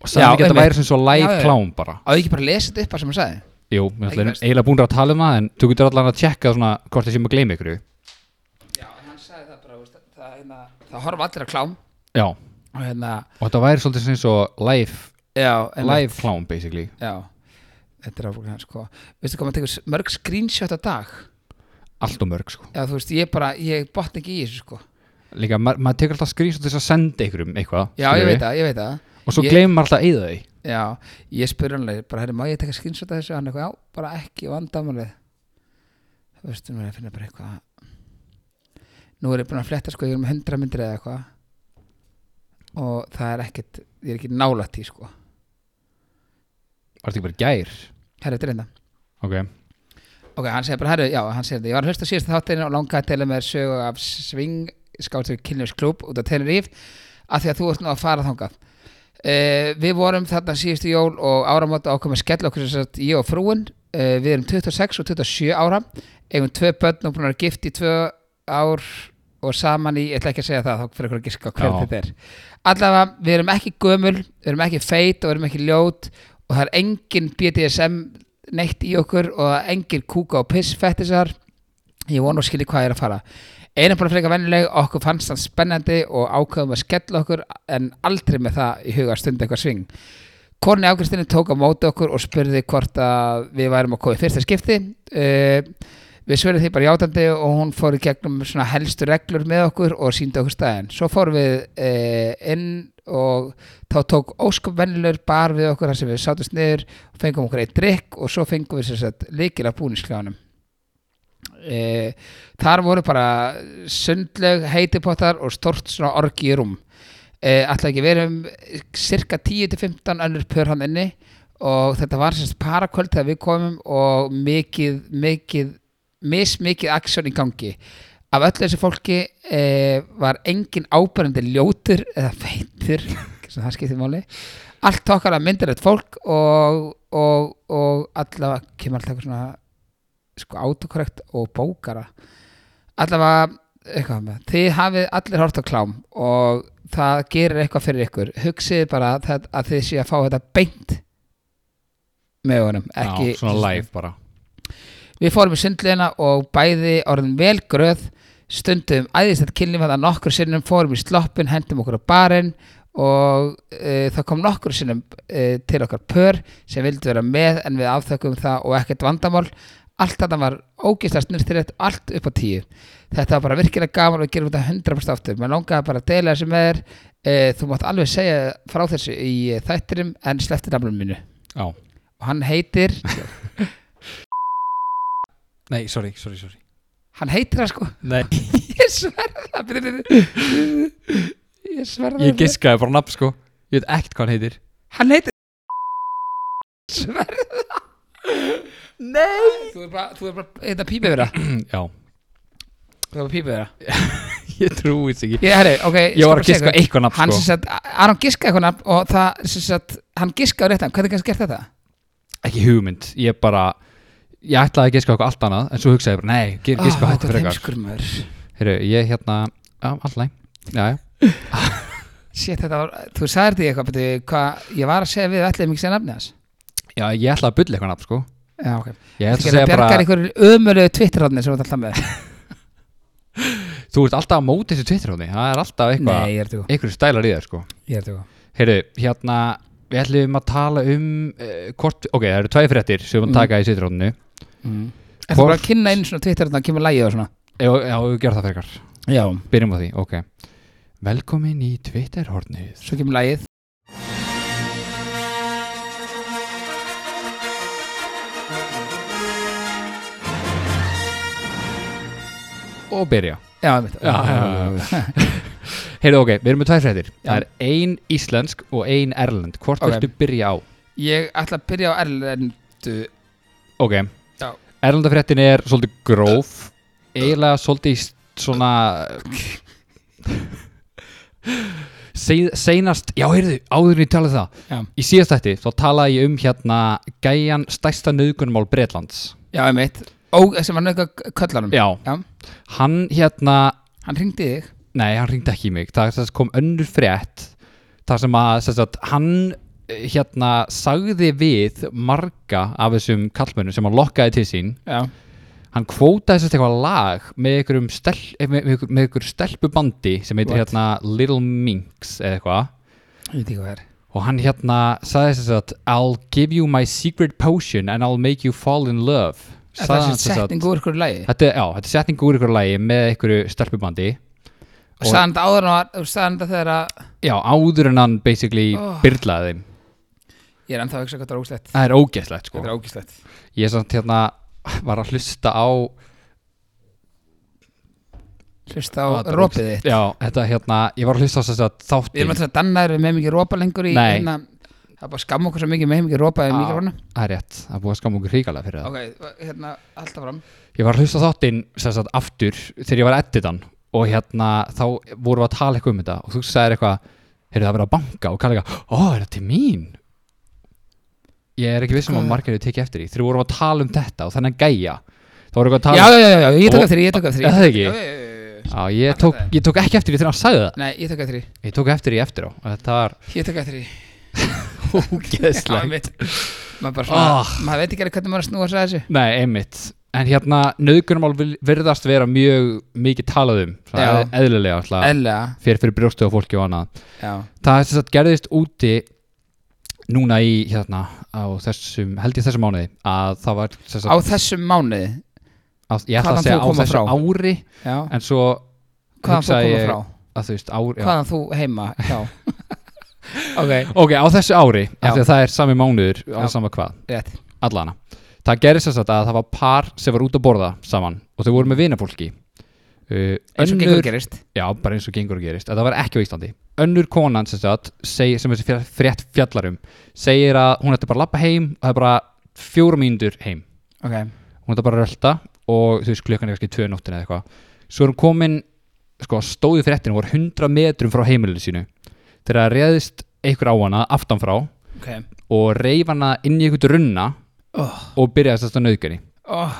S3: og sagði
S2: Já,
S3: hann ekki að
S2: einmitt.
S3: það væri sem svo
S2: Já,
S3: live
S2: já, já.
S3: klám bara
S2: á ekki bara að lesa þetta upp að sem hann sagði
S3: Jú, við
S2: Ekki
S3: erum
S2: best.
S3: eiginlega búin að tala um það en þú getur allan að tjekka svona hvort það sé maður að gleyma ykkur
S2: Já, hann sagði það bara, veist, það, hérna, það horfa allir að klám
S3: Já, og
S2: og hérna,
S3: þetta væri svolítið sem svo live,
S2: já,
S3: live klám basically
S2: já, þetta er áfram sko, veistu hvað maður tekur s- mörg screenshot að dag,
S3: allt og mörg sko
S2: já þú veist, ég bara ég botna ekki í þessu sko,
S3: Líka, ma maður tekur alltaf skrýs til þess að senda ykkur um eitthvað
S2: já ég
S3: skilurðu.
S2: veit það, ég veit það
S3: Og svo
S2: Ég-
S3: gleymir maður alltaf að eyða því
S2: Já, ég spurði hann leið, bara herri, má ég taka screenshot af þessu? Hann eitthvað, já, bara ekki vandamálið. Þú veist, nú er ég að finna bara eitthvað. Nú er ég búin að fletta, sko, ég er með 100 myndir eða eitthvað. Og það er ekkit, ég er ekki nálætt í, sko.
S3: Var þetta ekki bara í gær
S2: Herri, þetta er enda.
S3: Ok,
S2: Ok, hann segir bara, herri, já, hann segir þetta. Ég var að hlusta á síðasta þáttinu og langaði að tala með sögu af sving, skáttur kynljósklúb út á Tenerife, af því að þú ert nú að fara þangað. Uh, við vorum þarna síðustu jól og áramóta ákveðum að skella okkur sem sagt ég og frúin uh, við erum 26 og 27 ára eigum tvö börn og búin að vera gift í tvö ár og saman í, ég ætla ekki að segja það þá fyrir ykkur að giska hver
S3: Já.
S2: þetta er allavega, við erum ekki gömul, við erum ekki feit og við erum ekki ljót og það er engin BDSM neitt í okkur og það er engin kúka og piss fettisar ég vona og skilji hvað ég er að fara einu bara frekar vennileg, okkur fannst hann spennandi og ákveðum að skella okkur en aldrei með það í huga að stunda eitthvað sving Korni Ákristinu tók á móti okkur og spurði hvort að við værum að koma í fyrsta skipti uh, við svörum því bara játandi og hún fór í gegnum svona helstu reglur með okkur og síndi okkur staðin svo fórum við uh, inn og þá tók óskum vennilegur bar við okkur þar sem við sátust niður fengum okkur eitt drikk og svo fengum við sér sett líkil að búniskljáðanum e, þar voru bara sundleg heitipottar og stort svona orgi í rúm e, alltaf ekki við erum cirka 10-15 önnur pör hann inni og þetta var sérst parakvöld þegar við komum og mikið, mikið mismikið aksjón í gangi af öllu þessu fólki e, var engin ábærandi ljótur eða feitur sem það skiptir máli allt okkar að myndirett fólk og, og, og allavega kemur alltaf eitthvað svona sko autokorrekt og bókara allavega eitthvað með þið hafið allir hort á klám og það gerir eitthvað fyrir ykkur hugsið bara það, að þið séu að fá þetta beint með honum ekki
S3: já, svona live bara
S2: Við fórum í sundleina og bæði orðin vel gröð, stundum æðislegt kynlíf að nokkur sinnum, fórum í sloppin, hendum okkur á barinn og e, það kom nokkur sinnum e, til okkar pör sem vildi vera með en við afþökkum það og ekkert vandamál. Allt þetta var ógeðslega snurþyrrið, allt upp á tíu. Þetta var bara virkilega gaman og við gerum þetta 100% aftur. Mér langaði bara að deila þessu með þér. E, þú mátt alveg segja frá þessu í eh, þættinum en sleppti nafnum mínu.
S3: Já,
S2: Og hann heitir,
S3: nei, sorry, sorry, sorry
S2: hann heitir það sko.
S3: Nei,
S2: Ég sverða það byrju, byrju, byrju. Ég sverða það
S3: ég giskaði bara nafn sko Ég veit ekkert hvað hann heitir
S2: Hann heitir Sverða Nei Þú er bara, þú er bara, þetta pípið vera Þú
S3: Já,
S2: er bara pípið vera
S3: ég trúi þess ekki Sko,
S2: Ég, herri, ok
S3: Ég var að giska eitthvað
S2: Hann
S3: nafn
S2: sem
S3: sko
S2: sagt, Aron giskaði eitthvað nafn og það sem sagt, hann giskaði réttan, hvernig kannski gert þetta?
S3: Ekki hugmynd, ég bara Ég ætlaði að giska okkur allt annað En svo hugsaði ég bara, nei, ge- giska
S2: Ó,
S3: hættu
S2: hvað
S3: fyrir eitthvað
S2: Ah, heimskur maður
S3: Heyrðu, ég hérna, já, alltaf Já, já,
S2: Shit, þetta var, þú sagðir því eitthvað, betur, hvað, ég var að segja við allir mikið sem nafni hans
S3: já, ég ætlaði að bulla eitthvað nafn sko
S2: Já, ok
S3: Ég
S2: Þetta
S3: ætla að segja bara,
S2: bjargar einhverju ömulegu Twitter-ráðni sem þú ert alltaf með
S3: þú ert alltaf á móti þessu tvittir hóðni Það er alltaf eitthvað,
S2: Nei, ég er þetta góð
S3: eitthvað stælar í það sko
S2: Ég er þetta góð
S3: Heyrðu, sko. hérna við ætlum að tala um uh, hvort, ok, það eru tvæði fréttir sem við erum að taka í sitrónu
S2: Er það
S3: Hvort-
S2: bara að kynna einu svona Twitter þannig að kemur lægið og svona
S3: Já, já, við gerum það frekar
S2: Já
S3: Byrjum á því, ok Velkomin í Twitter-hornið
S2: Svo kemur lægið
S3: Og byrja
S2: Já, einmitt.
S3: Já, já, Heyrðu, ok, við erum með tvæði fréttir Það er ein íslensk og ein erlend Hvort
S2: Ok.
S3: viltu byrja á?
S2: Ég ætla að byrja á erlendu
S3: Ok,
S2: Já.
S3: erlendafréttin er svolítið gróf eiginlega svolítið í st- svona Seið- seinast, já heyrðu, áður en ég talaði það
S2: Já,
S3: í síðast þætti, þá talaði ég um hérna gæjan stærsta nöðgunumál Breitlands
S2: já einmitt Ó, sem var nöðka köllanum
S3: Já,
S2: já
S3: hann hérna
S2: Hann ringdi þig
S3: Nei, hann ringdi ekki í mig. Það það kom önnur frétt þar sem að sem sagt, hann eh, hérna sagði við marga af þessum kallmönnum sem hann lokkaði til sín
S2: Já
S3: hann kvótaði sérst eitthvað lag með einhverjum stel, eh, með, með, með einhver stelpubandi sem heitir
S2: What?
S3: hérna Little Minx eða eitthvað
S2: Ég veit ekki hvað það er
S3: og hann hérna sagði sérst að I'll give you my secret potion and I'll make you fall in love
S2: Er
S3: Sagði
S2: Það
S3: hann
S2: er
S3: sem sagt-
S2: setning úr ykkur lægi
S3: Þetta, er- já, þetta er setning úr einhverju lagi með einhverju stelpubandi
S2: Og sagðan þetta áður en var Og sagðan þetta þegar að
S3: Já, áður en hann basically oh. byrlaði þeim
S2: Ég er ennþá að hugsa hvað það er ógislegt
S3: Það er ógeðslegt sko
S2: Þetta er ógislegt
S3: Ég er samt hérna var að hlusta á
S2: Hlusta á
S3: Á, þetta er
S2: rópið þitt
S3: Já, þetta hérna, ég var að hlusta á þess að
S2: Við erum
S3: þáttin
S2: alltaf dannaður með mikið rópa lengur í
S3: Nei. Ah.
S2: hérna- Það er bara að skamma okkur svo mikið með mikið rópa í
S3: Á,
S2: mikrofonu
S3: Það er rétt, það er búið að skama okkur hríkalega fyrir það
S2: Ok, hérna, alltaf fram
S3: Ég var að hlusta á þáttinn sem sagt aftur þegar ég var að editan og hérna þá vorum við að tala eitthvað um þetta og þú sagðir eitthvað, heyrðu það verið að banka og kallar eitthvað, ó, er þetta til mín? Ég er ekki vissum að
S2: Hvað?
S3: margir við tekið eftir því, þegar við vorum að tala um þetta og þannig gæja, þá vorum við að
S2: Já,
S3: tala
S2: já, já, já, ég tók
S3: Og-
S2: eftir því, ég tók eftir því
S3: Er það ekki?
S2: Já, já, já, já, já.
S3: Já, ég tók,
S2: Allan
S3: ég tók ekki eftir því þegar hann sagði það
S2: Nei, ég tók eftir því
S3: Ég tók eftir því eftir á og Þetta var
S2: Ég tók eftir því
S3: ógeðslegt
S2: mitt Maður bara svona,
S3: Ah.
S2: maður veit ekki alveg hvernig maður snúa sér að þessu
S3: Nei, einmitt En hérna, nöðgunumál virðast vera mjög mikið talað um svona
S2: Já.
S3: eð- Eðlilega alltaf
S2: Ellega,
S3: Fyrir fyrir brjóstu og fólki og annað
S2: já
S3: Það er sem sagt gerðist úti Núna í hérna á þessum, held ég þessum mánuði að það var sem sagt,
S2: Á þessum mánuði,
S3: á, ég ætla
S2: hvaðan
S3: að segja
S2: þú
S3: á
S2: koma
S3: þessu
S2: frá?
S3: ári
S2: já
S3: en svo
S2: Hvaðan þú
S3: hugsaði
S2: koma
S3: ég
S2: frá?
S3: að þú veist ári já.
S2: Hvaðan þú heima? Já Ok,
S3: ok, á þessu ári,
S2: Já.
S3: af því að það er sami mánuður á
S2: Já.
S3: sama hvað
S2: rétt
S3: allana það gerði sér satt að það var par sem var út að borða saman og þau voru með vinafólki uh,
S2: Eins og gengur gerist
S3: já, bara eins og gengur og gerist, að það var ekki á Íslandi önnur konan sem sagt segir, sem þessi fjall- frétt fjallarum segir að hún ætti bara að lappa heim og það er bara fjórum mínútur heim
S2: Ok,
S3: hún ætti bara að rölda og þú veist klukkan er kannski tvö nóttin eða eitthvað svo er hún komin, sko stóði fréttin hún var 100 metrum frá heimilinu sínu þegar það reyðist einhver á hana aftanfrá
S2: ok
S3: og reyf hana inn í einhvern runna
S2: oh.
S3: og byrjaði þess að nöðgani
S2: Oh.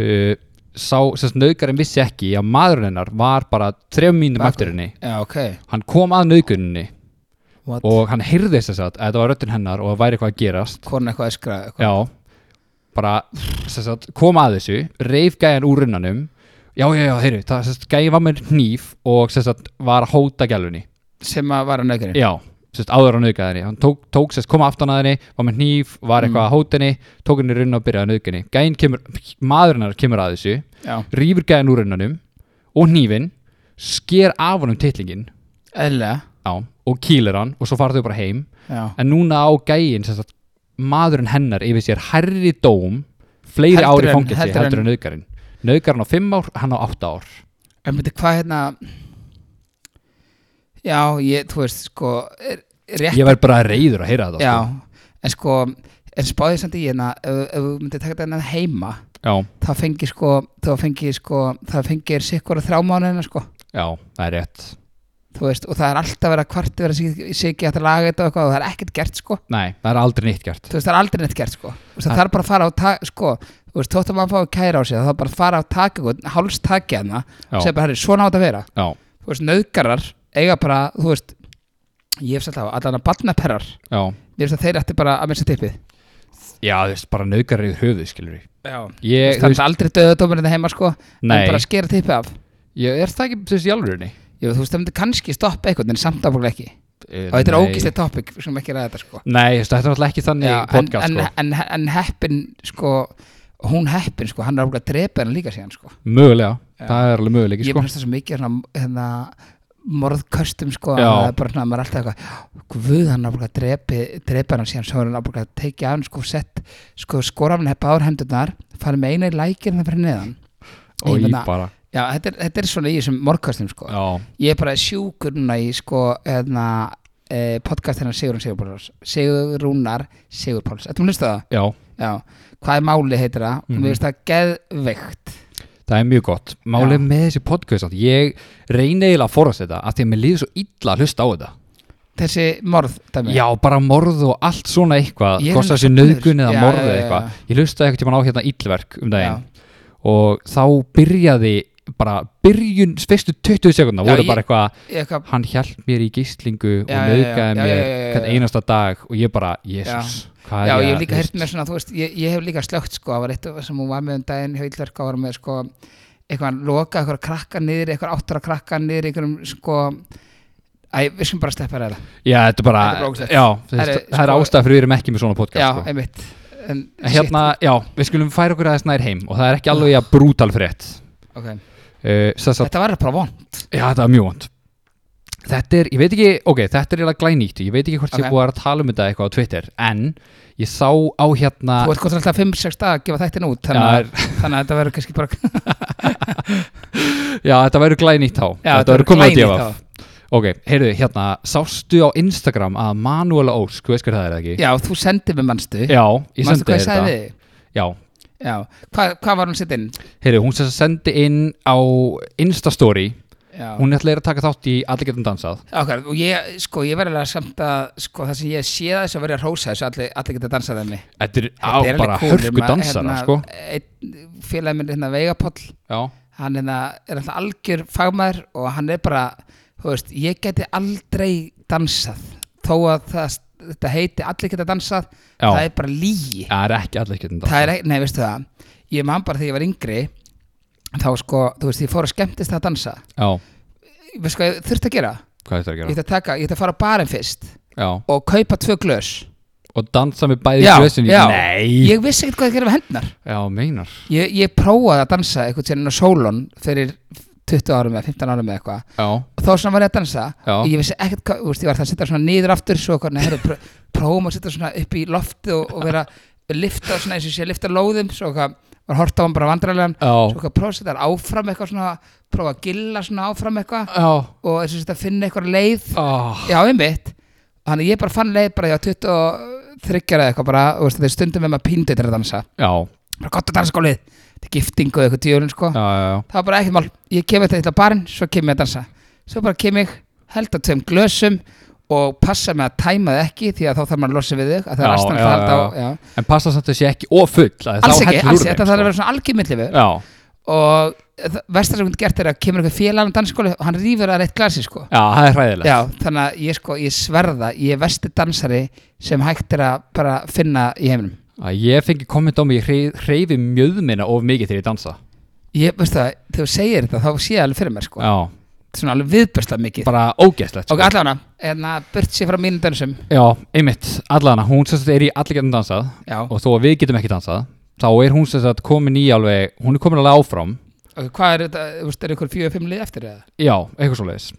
S3: uh, sá, sérst nöðgarinn vissi ekki að maðurinn hennar var bara þrejum mínum
S2: Bakur.
S3: eftir henni
S2: Já, ok
S3: hann kom að nöðguninni
S2: What?
S3: og hann heyrði þess að þetta var röddinn hennar og það væri eitthvað að gerast
S2: Kona eitthvað öskra eitthvað.
S3: já, bara sérst að kom að þessu, reif gæjan úr runnanum já, já, já, heyrðu, það sérst gæjan var með hníf og sérst að var að hóta gælunni
S2: Sem að vara nöðgurinn
S3: já, sérst áður að nöðga henni hann tók, tók sérst kom aftan að henni, var með hníf var eitthvað að hóta henni, tók henni í runna og byrjaði að nöðga henni gæjan kemur, maðurinn hennar kemur að þessu
S2: já.
S3: rýfur gæðan úr hennanum og hnífin, sker af honum titlingin
S2: Eðlilega.
S3: á, og kýlir hann og svo fara þau bara heim
S2: Já
S3: en núna á gæin sem sagt, maðurinn hennar yfir sér herri dóm fleiri
S2: Heldur
S3: ári
S2: en-
S3: fangilsi
S2: heldur
S3: heldur, heldur en nöðgarinn nöðgarinn á 5 ár, hann á 8 ár
S2: En beti, hvað hérna Já, ég, þú veist, sko er, Rétt
S3: ég verð bara reyður að heyra þetta
S2: Já, en sko En spáðið samt í hérna Ef ef þú myndir taka þetta hérna heima
S3: Sko. Já,
S2: Það fengir sko Það fengir sko Það fengir sikkur að þrjá mánuðina sko
S3: já, það er rétt
S2: Þú veist, og það er alltaf verið að kvarti verið að sikki að það laga þetta og eitthvað og það er ekkert gert sko
S3: nei, það er aldrei nýtt gert
S2: Þú veist, það er aldrei neitt gert sko Þú veist, það þarf bara að fara á ta- sko Þú veist, þótt að maður fá að kæra á sig Það þarf bara að fara á taka eitthvað Háls taki hana
S3: Já.
S2: Og segja bara, herri, svona átt að vera
S3: já,
S2: Þú veist, nöðgarar eiga bara, þú veist Ég hef sagt á, allan að barnaperrar
S3: já,
S2: Mér finnst að þeir ætti bara að missa tippið
S3: já, þú veist, bara nöðgarinn yfir höfuð, skilur við
S2: Já Það
S3: ég, þú
S2: er
S3: veist,
S2: aldrei döðadómurinn það heima sko
S3: Nei.
S2: En bara skera tippið af
S3: ég er það ekki, þú veist, í alvegurinni
S2: Jú, þú veist, það myndi kannski stoppa eitthvað en samt áfólk ekki og þetta er ógíslega topic, við skulum ekki ræða þetta sko
S3: Nei, þú veist, þetta er náttúrulega ekki þannig
S2: Já, en,
S3: podcast
S2: en,
S3: sko.
S2: en, en heppin sko, hún heppin sko, hann er áfram að drepa hann líka síðan sko
S3: Mögulega, það er alveg möguleiki
S2: ég
S3: sko.
S2: finnst það svo mikið svona, hérna, morðköstum sko
S3: Já.
S2: það er bara svona, maður er alltaf eitthvað guð hann áfram að drepa, drepa hann síðan svo er hann áfram að tekið af hann sko sett sko skorafn hefði báður hendurnar farið með eina í lækirna fyrir neðan
S3: Og
S2: ég
S3: ég
S2: meina-
S3: bara
S2: já, þetta er, þetta er svona í þessum morðköstum sko
S3: Já,
S2: ég er bara sjúkur núna í sko hérna, eh, podcast hennar Sigurún Sigurpáls Sigurúnar Sigurpáls, ættum að hlusta á það?
S3: já,
S2: Já, hvað er máli heitir það
S3: Mhm.
S2: og mér finnst það geðveikt
S3: það er mjög gott Málið
S2: Já.
S3: með þessi podcast samt, Ég reyni eiginlega að forðast þetta af því að mér líður svo illa að hlusta á þetta
S2: þessi morð dæmi.
S3: Já, bara morð og allt svona eitthvað
S2: Ég er
S3: Kosta
S2: alveg
S3: sér
S2: sofnaður.
S3: nöðgun eða
S2: Já,
S3: morð
S2: já,
S3: eða
S2: já,
S3: eitthvað
S2: já.
S3: Ég hlustaði eitthvað tímann á hérna illverk um daginn Og þá byrjaði bara byrjun fyrstu 20 sekundna
S2: Já,
S3: voru
S2: ég-
S3: bara eitthvað
S2: Ég eitthvað,
S3: Hann hjælt mér í gíslingu og
S2: Já, já, já, já, já,
S3: nöðgæði mér
S2: já, já, já.
S3: hvern einasta dag og ég bara, jésus hvað
S2: já,
S3: er
S2: ég hef
S3: að-
S2: líka
S3: þú veist,
S2: heyrt með svona þú veist, ég, ég hef líka slögt sko, það var eitt sem hún var með um daginn hjá Íllverka var með sko, eitthvað hann loka eitthvað krakka niður, eitthvað áttara krakka niður einhverjum sko Æ, við skum bara að sleppa þér að það
S3: Já, þetta er bara,
S2: Þetta er bara ógeðslegt.
S3: já, það
S2: Herri,
S3: er, það er
S2: sko-
S3: ástæð fyrir við erum ekki með svona podcast
S2: Já,
S3: sko.
S2: einmitt en,
S3: En Hérna, já, við skulum færa okkur aðeins nær heim og það er ekki alveg að brútal frétt
S2: shit, ok.
S3: uh, Sess að,
S2: Þetta var bara von
S3: já, það er mjög vond Þetta er, ég veit ekki, ok, þetta er eiginlega glænýtt Ég veit ekki hvort
S2: Ok.
S3: ég búið að vera að tala um þetta eitthvað á Twitter En ég sá á hérna
S2: Þú ert kontra alltaf 5-6 dag að gefa þættin út þannig,
S3: Já,
S2: að- þannig að þetta verður kannski bara
S3: Já, þetta verður glænýtt þá
S2: Já,
S3: Þetta verður komið að
S2: glænýtt
S3: djöfa
S2: þá.
S3: Ok, heyrðu, hérna, sástu á Instagram að Manuela Ósk, þú veist hver það er eða ekki?
S2: Já, þú sendið mér mannstu
S3: Já, ég
S2: Manstu
S3: sendi
S2: hvað
S3: þér
S2: ég
S3: þetta
S2: sagði þig?
S3: Já,
S2: Já, hvað, hvað var hún sitt inn?
S3: heyrðu, hún sem sagt sendi inn á Instastory
S2: Já.
S3: Hún ætlaði að taka þátt í Allir getum dansað
S2: Okkar, og ég, sko, ég verður alveg samt að, sko, það sem ég sé það þess að verður að rósa þessu allir, allir geta dansað þenni.
S3: Þetta er á bara hörku dansara sko.
S2: hérna, Einn félagi minn, hérna, Veigapoll,
S3: Já,
S2: hann hérna, er alltaf algjör fagmaður og hann er bara, þú veist, ég geti aldrei dansað, þó að það, þetta heiti allir geta dansað,
S3: Já.
S2: það er bara lígi.
S3: það er ekki Allir getum dansað
S2: það er ekki, nei veistu það ég man bara þegar ég var yngri þá sko, þú veist, ég fór að skemmtist að dansa
S3: Já,
S2: veistu hvað ég þurfti að gera?
S3: hvað þetta er að
S2: ég
S3: gera
S2: ætti að taka, ég ætti að fara á barinn fyrst
S3: Já,
S2: og kaupa tvö glös
S3: og dansa með bæði glösin í- Nei,
S2: ég vissi ekkert hvað ég gera við hendnar
S3: já, meinar
S2: ég, ég prófaði að dansa einhvern tíðan inn á sólun fyrir 20 árum eða 15 árum eða eitthvað
S3: Já,
S2: og þá svona var ég að dansa
S3: Já.
S2: og ég vissi ekkert hvað, þú veist, ég var það að setja svona niður aftur svo hvernig, herru, pró- prófum að setja svona upp í lofti og, og vera lifta svona eins og sé lifta lóðum svo hvað, var hort á hann bara vandrarlegan
S3: já,
S2: svo eitthvað prófa að setja þær áfram eitthvað svona prófa að gilla svona áfram eitthvað
S3: já
S2: og eins og þetta finna eitthvað leið
S3: oh.
S2: já, einmitt þannig að ég bara fann leið bara ég á 23 ára eða eitthvað bara og veist, þeir stundum með maður píndu þetta að dansa
S3: Já,
S2: bara gott að dansa skólið þetta er gifting og eitthvað djúlin sko
S3: já, já, já
S2: það var bara ekkert mál ég kem eitthvað til að barinn svo kem ég að dansa svo bara kem ég held á tveim glösum og passa með að tæma það ekki því að þá þarf maður að losa við þig að það er
S3: Já,
S2: astan
S3: já,
S2: að halda á
S3: já.
S2: já.
S3: En passa samt að sé ekki ofull
S2: alls ekki, alls ekki, þetta þarf að vera svona algjörmillið
S3: sko. Já,
S2: og vestar sem hún gert er að kemur eitthvað félagann dansskóli og hann rýfur það reitt glasi sko
S3: já, það er hræðilegt
S2: Já, þannig að ég sko, ég sverða ég er vesti dansari sem hægt er að bara finna í heiminum
S3: Að Ég fengi komment á mig, ég hreyf- hreyfi mjöðmina of mikið þegar ég dansa
S2: ég, veistu það, þegar þú segir þetta þá sé ég alveg fyrir mér sko,
S3: Já,
S2: svona alveg viðbjörsla mikið
S3: bara ógeðslegt sko.
S2: ok, allavega, en að burt sér frá mínum dansum
S3: Já, einmitt, allana, hún sem sagt er í Allir getum dansað
S2: já,
S3: og þó að við getum ekki dansað þá er hún sem sagt komin í alveg hún er komin alveg áfram,
S2: ok, hvað er þetta, þú veist, er ykkur fjögur fimm lið eftir eða?
S3: já, eitthvað svoleiðis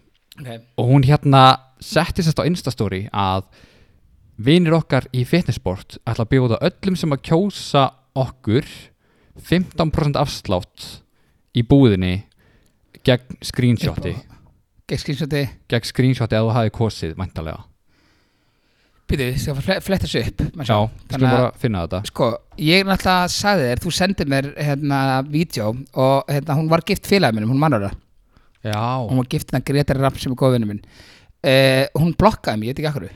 S2: Okay.
S3: og hún hérna setti sérst á Instastory að vinir okkar í fitnessport ætla að bjóða öllum sem að kjósa okkur 15% afslátt í búðinni gegn screenshoti
S2: Gekk skynsjóti,
S3: gegn screenshoti að þú hafi kosið mæntalega,
S2: býtu, skal fle- fletta þessu upp maður sjá.
S3: já, skulum
S2: Þannig að-
S3: bara finna þetta
S2: Sko, ég náttúrulega sagði þér, þú sendið mér hérna vídeo og hérna hún var gift félagið minnum, hún mannur það
S3: já,
S2: hún var gift hérna Gretar Rapp sem er góðvinni minn uh, hún blokkaði mig, ég veit ekki akkur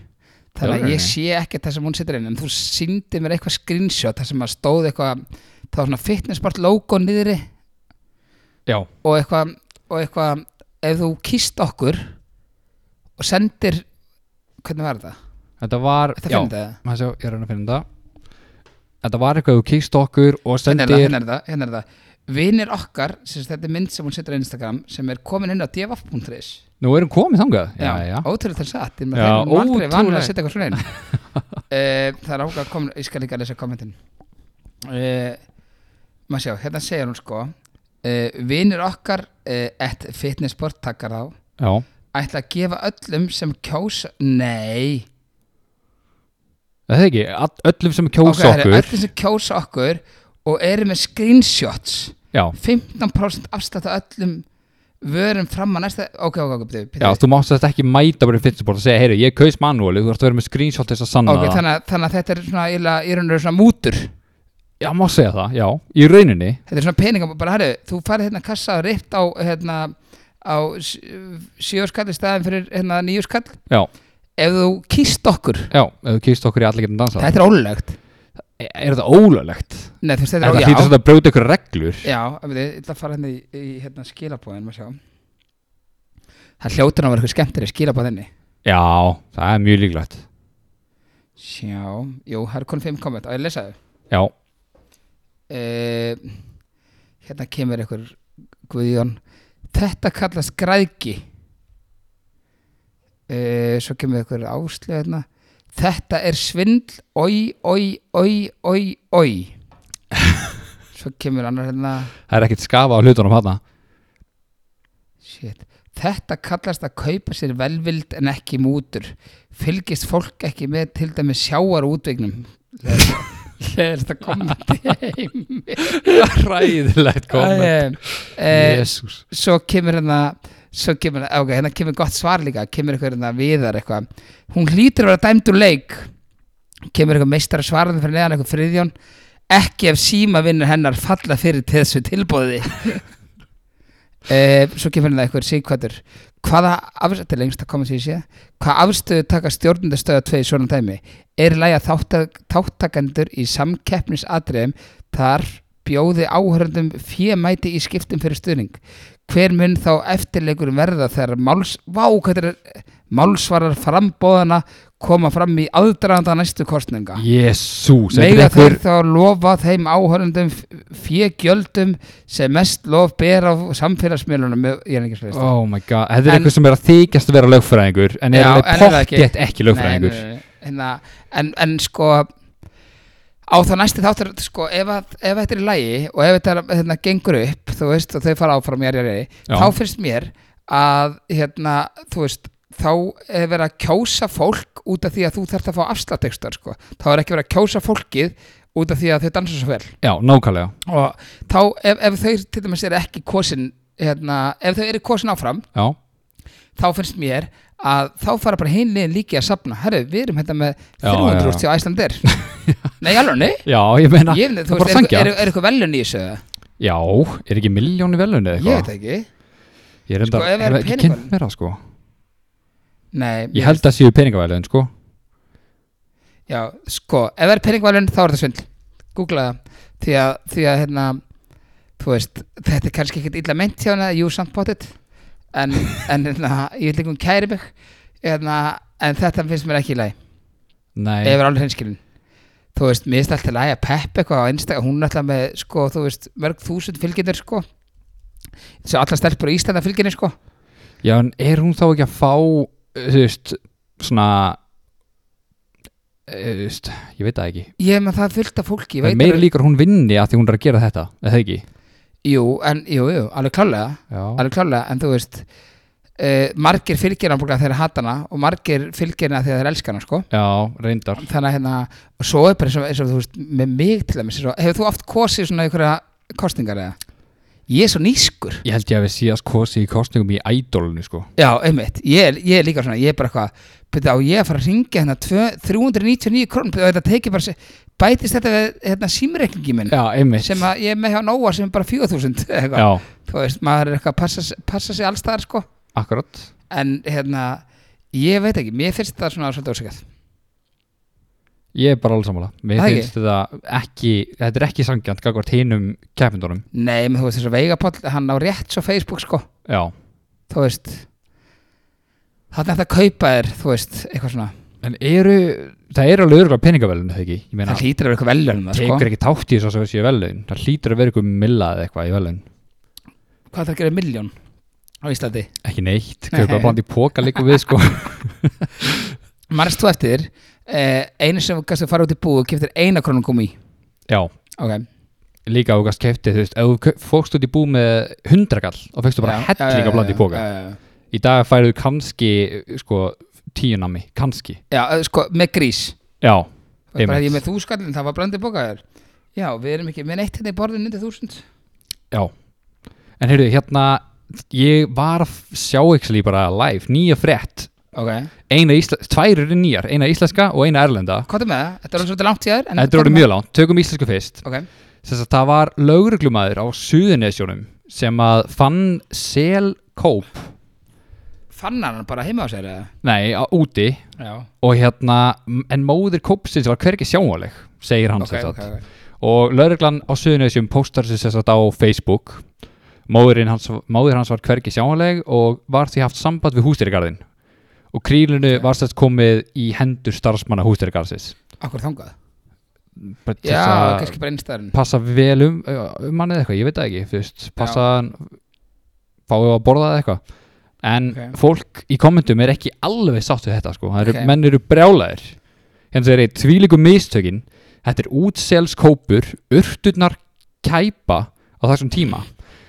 S2: þannig að
S3: Alvörunni?
S2: ég sé ekki það sem hún setur inn en þú síndi mér eitthvað screenshot það sem að stóð eitthvað það var svona fitnessport logo niðri
S3: já,
S2: og eitthvað og eitthvað, ef þú kýst okkur og sendir hvernig var þetta?
S3: þetta var
S2: Þetta
S3: já,
S2: finnir þetta?
S3: maður sjá, ég er að reyna að finna þetta þetta var eitthvað þú kýst okkur og
S2: Hérna er það,
S3: sendir
S2: hérna er það, hérna er það Vinir okkar, sem sagt, þetta er mynd sem hún setur á Instagram sem er komin inn á dvf.is
S3: Nú erum komið þangað Já, já,
S2: ótrúlega þess að þeir
S3: Já,
S2: eru aldrei vanlega
S3: ótrúlegt.
S2: að setja eitthvað svona inn uh, það er ákveð að koma ég skal líka að lesa kommentin uh, maður sjá, hérna segir hún sko uh, vinur okkar uh, at fitnessport takkar á
S3: já.
S2: ætla að gefa öllum sem kjósa nei,
S3: Það er ekki, all- öllum sem
S2: Ok,
S3: kjósa
S2: það eru
S3: okkur
S2: öllum sem kjósa okkur og eru með screenshots
S3: Já,
S2: 15% afslátt af öllum vörum fram að næsta ok, ok, ok, byrju,
S3: já,
S2: byrju.
S3: þú mást þetta ekki mæta bara í fyrstubort og segja, heyri, ég kaus manúali þú ert að vera með screenshot til þess að sanna
S2: ok,
S3: það
S2: þannig, að- þannig að þetta er svona, eiginlega- í raun og veru svona mútur
S3: Já, má segja það, já, í rauninni
S2: þetta er svona peningam bara herru, þú farið hérna kassa og rift á hérna á sjöu skall í staðin fyrir hérna nýju skall
S3: Já,
S2: ef þú kýst okkur
S3: já, ef þú kýrst okkur í allir getum dansað
S2: þetta er ólögt
S3: Er, er þetta ólöglegt?
S2: Nei, þú veist, þetta
S3: Þetta
S2: er
S3: hlýtur
S2: ólögt
S3: svolítið að brjóta ykkur reglur
S2: já, ég veit, ég ætla að fara hérna í, í hérna skilabóðin maður sjá það hljótur að vera eitthvað skemmtir í skilabóðinni
S3: Já, það er mjög líklegt
S2: sjá, jú, það er konum 5 komment á ég að lesa þau
S3: Já,
S2: uh, hérna kemur einhver Guðjón þetta kallast græðgi uh, svo kemur einhver áslega hérna þetta er svindl oi, oi, oi, oi, oi svo kemur annar hérna
S3: það er ekkert skafa á hlutunum hana
S2: shit Þetta kallast að kaupa sér velvild en ekki mútur. Fylgist fólk ekki með til dæmis sjáar útvegnum. Leðist að koma til heim.
S3: Ræðilegt komment
S2: Eh,
S3: Jésús
S2: svo kemur hérna svo kemur, ok, hérna kemur gott svar líka kemur eitthvað hérna viðar eitthvað hún hlýtur að vera dæmd úr leik kemur eitthvað meistar svarðan fyrir neðan eitthvað friðjón ekki ef síma vinnur hennar falla fyrir til þessu tilbúði e, svo kemur hérna eitthvað síkvættur hvaða afstöðu, þetta er lengst að koma sér sé hvaða afstöðu taka stjórnundastöða tvei svona dæmi, er lægja þáttakendur í samkeppnisatriðum þar bjóði áhörðum fjömæti í skiptum fyrir stuðning hver mun þá eftirleikur verða þegar máls, vá, hvað þetta er, málsvarar frambóðana koma fram í aðdraðanda næstu kostninga
S3: Jésús þetta er
S2: Mega þeir
S3: einhver-
S2: þá lofa þeim áhörundum fjögjöldum sem mest lof ber á samfélagsmiðlunum ég er ekki slist
S3: Oh my god, þetta er
S2: En-
S3: eitthvað sem er að þykjast að vera lögfræðingur en er
S2: Já, en er
S3: alveg
S2: það ekki.
S3: pottjett ekki lögfræðingur
S2: Nei, nei, nei, nei. Hérna, en, en sko á þá næsti þáttur sko, ef, að, ef þetta er í lægi og ef þetta er- hérna, gengur upp þú veist, og þau fara áfram jari, jari,
S3: Já.
S2: þá finnst mér að hérna, þú veist þá er verið að kjósa fólk út af því að þú þarft að fá afsláttekstar sko. þá er ekki verið að kjósa fólkið út af því að þau dansa svo vel
S3: Já, nákvæmlega
S2: og þá ef, ef þau til dæmis eru ekki kosin hérna, ef þau eru kosin áfram
S3: Já,
S2: þá finnst mér að þá fara bara hinn liðin líki að safna herru, við erum hérna með
S3: Já,
S2: 300
S3: já.
S2: úrst hjá Æslandir nei, alveg, nei
S3: já ég meina
S2: ég, finn- þú
S3: það er bara
S2: veist, er,
S3: sangja
S2: er, er eitthvað velun í þessu eða?
S3: Já, er ekki miljónu velunni
S2: ég veit
S3: eitthvað?
S2: það ekki
S3: Ég er enda,
S2: Sko, ef það
S3: hef
S2: eru
S3: ekki
S2: peningaverðlaun.
S3: kynnt mér það sko
S2: nei,
S3: Ég held að séu peningavæluðin sko
S2: já, sko, ef það er peningvalun þá er það svindl, googla það því að, því að hérna þú veist, þetta er kannski ekkert illa meint hjá hana jú, samt bóttið en, en hérna, ég vil ekki um kæri mig hérna, en þetta finnst mér ekki í lagi
S3: Nei,
S2: ef er alveg hreinskilin þú veist, mér finnst alltaf að lægja Pepp eitthvað á einstaka, hún er alltaf með sko, þú veist, mörg þúsund fylgjendur sko svo allar stelpur í Íslanda fylgjendur sko
S3: já en er hún þá ekki að fá eh, þú veist, svona eh, þú veist, ég veit það ekki
S2: ég með það er fullt af fólki, ég
S3: Það
S2: veit
S3: er meira
S2: alveg-
S3: líkur að hún vinni að því hún er að gera þetta eða það ekki
S2: jú, en, jú, jú, alveg klálega
S3: Já,
S2: alveg klálega, en þú veist uh, margir fylgjendur þegar þeir hata hana og margir fylgjendur þegar þeir elska hana sko
S3: já reyndar
S2: þannig að hérna, og svo er bara eins og, eins og þú veist, með mig til dæmis, eins og- hefur þú oft kosið svona einhverja kostningar eða? Ég er svo nýskur
S3: Ég held ég að við síðast kosi í kostningum í ædolunni sko
S2: Já, einmitt, ég, er- ég er líka svona, ég er bara eitthvað byrja á ég að fara að ringja hérna tvö- 399 krónum og þetta tekið bara sér- bætist þetta við hérna símreikningi minn
S3: Já, einmitt
S2: sem að ég er með hjá Nóa sem er bara 4000 eitthvað,
S3: Já,
S2: þú veist, maður er eitthvað að passa, s- passa sig allstaðar sko,
S3: akkurat
S2: en hérna ég veit ekki, mér finnst þetta svona svolítið ósikað
S3: Ég er bara alveg sammála Mér
S2: Það
S3: finnst þetta ekki Þetta er ekki sangjant Gagvart hinum keppindunum
S2: Nei, menn þú veist, þessu veigapoll, hann á rétt svo Facebook sko,
S3: Já
S2: þú veist þannig að þetta kaupa þér, þú veist, eitthvað svona
S3: en eru, það eru alveg örgulega peningavelun það ekki, ég meina,
S2: það hlýtur að vera eitthvað velunum það,
S3: tekur
S2: sko.
S3: ekki tátt í þess að það séu velun það hlýtur að vera eitthvað milla eða eitthvað í velun
S2: Hvað þarf að gera miljón á Íslandi?
S3: ekki neitt,
S2: Nei.
S3: kaupa bland í póka líka við sko
S2: Marst þú eftir eh, einu sem kannski að fara út í búð og keftir eina krónum komi í
S3: já,
S2: okay.
S3: líka ef þú gast keftið, þú veist, ef þú kau- fórst út í bú með hundrakall og fegstu bara
S2: Já, Eh, já, já,
S3: helling
S2: já,
S3: af bland í
S2: já,
S3: póka
S2: já, já, já.
S3: í dag færðu kannski, sko tíu nami, kannski,
S2: Já, eh, sko, með grís
S3: já
S2: Það er bara
S3: einmitt.
S2: ég með þúskallin, það var blandið bókaður Já, við erum ekki með neitt hérna í borðin undir þúsund
S3: Já En heyrðu, hérna Ég var að sjá ekki bara live Nýja frétt
S2: Ok,
S3: Eina ísla, Tvær eru nýjar, eina íslenska og eina erlenda
S2: hvað er með það? Þetta er alveg svolítið langt í þær en hérna-
S3: Þetta er
S2: komdu
S3: orðið
S2: með
S3: mjög langt, tökum íslensku fyrst
S2: það. Ok,
S3: Þess að það var lögreglumæður á Suðunesjónum sem að fann sel kóp
S2: fann hann bara heima á sér eða?
S3: Nei, á, úti
S2: Já,
S3: og hérna, m- en móðir kópsins var hvergi sjáanleg, segir hann
S2: ok,
S3: sem sagt.
S2: ok, ok.
S3: og lögreglan á Suðunessjum póstar sér sérst á Facebook móðurinn hans, móðir hans var hvergi sjáanleg og var því haft samband við hústýrigarðin og krílunu var sérst komið í hendur starfsmanna hústýrigarðsins
S2: Akkur þangað
S3: bara til
S2: Já,
S3: þess að
S2: kannski bara einnstæðan
S3: passa vel um, um hann eða eitthvað, ég veit það ekki þú veist, passa hann fáið að borða eða eitthvað en
S2: Ok.
S3: fólk í kommentum er ekki alveg sátt við þetta sko, Það eru,
S2: Ok.
S3: menn eru brjálæðir hérna þeir eru tvílíku mistökin þetta er útselskópur urturnar kæpa á þessum tíma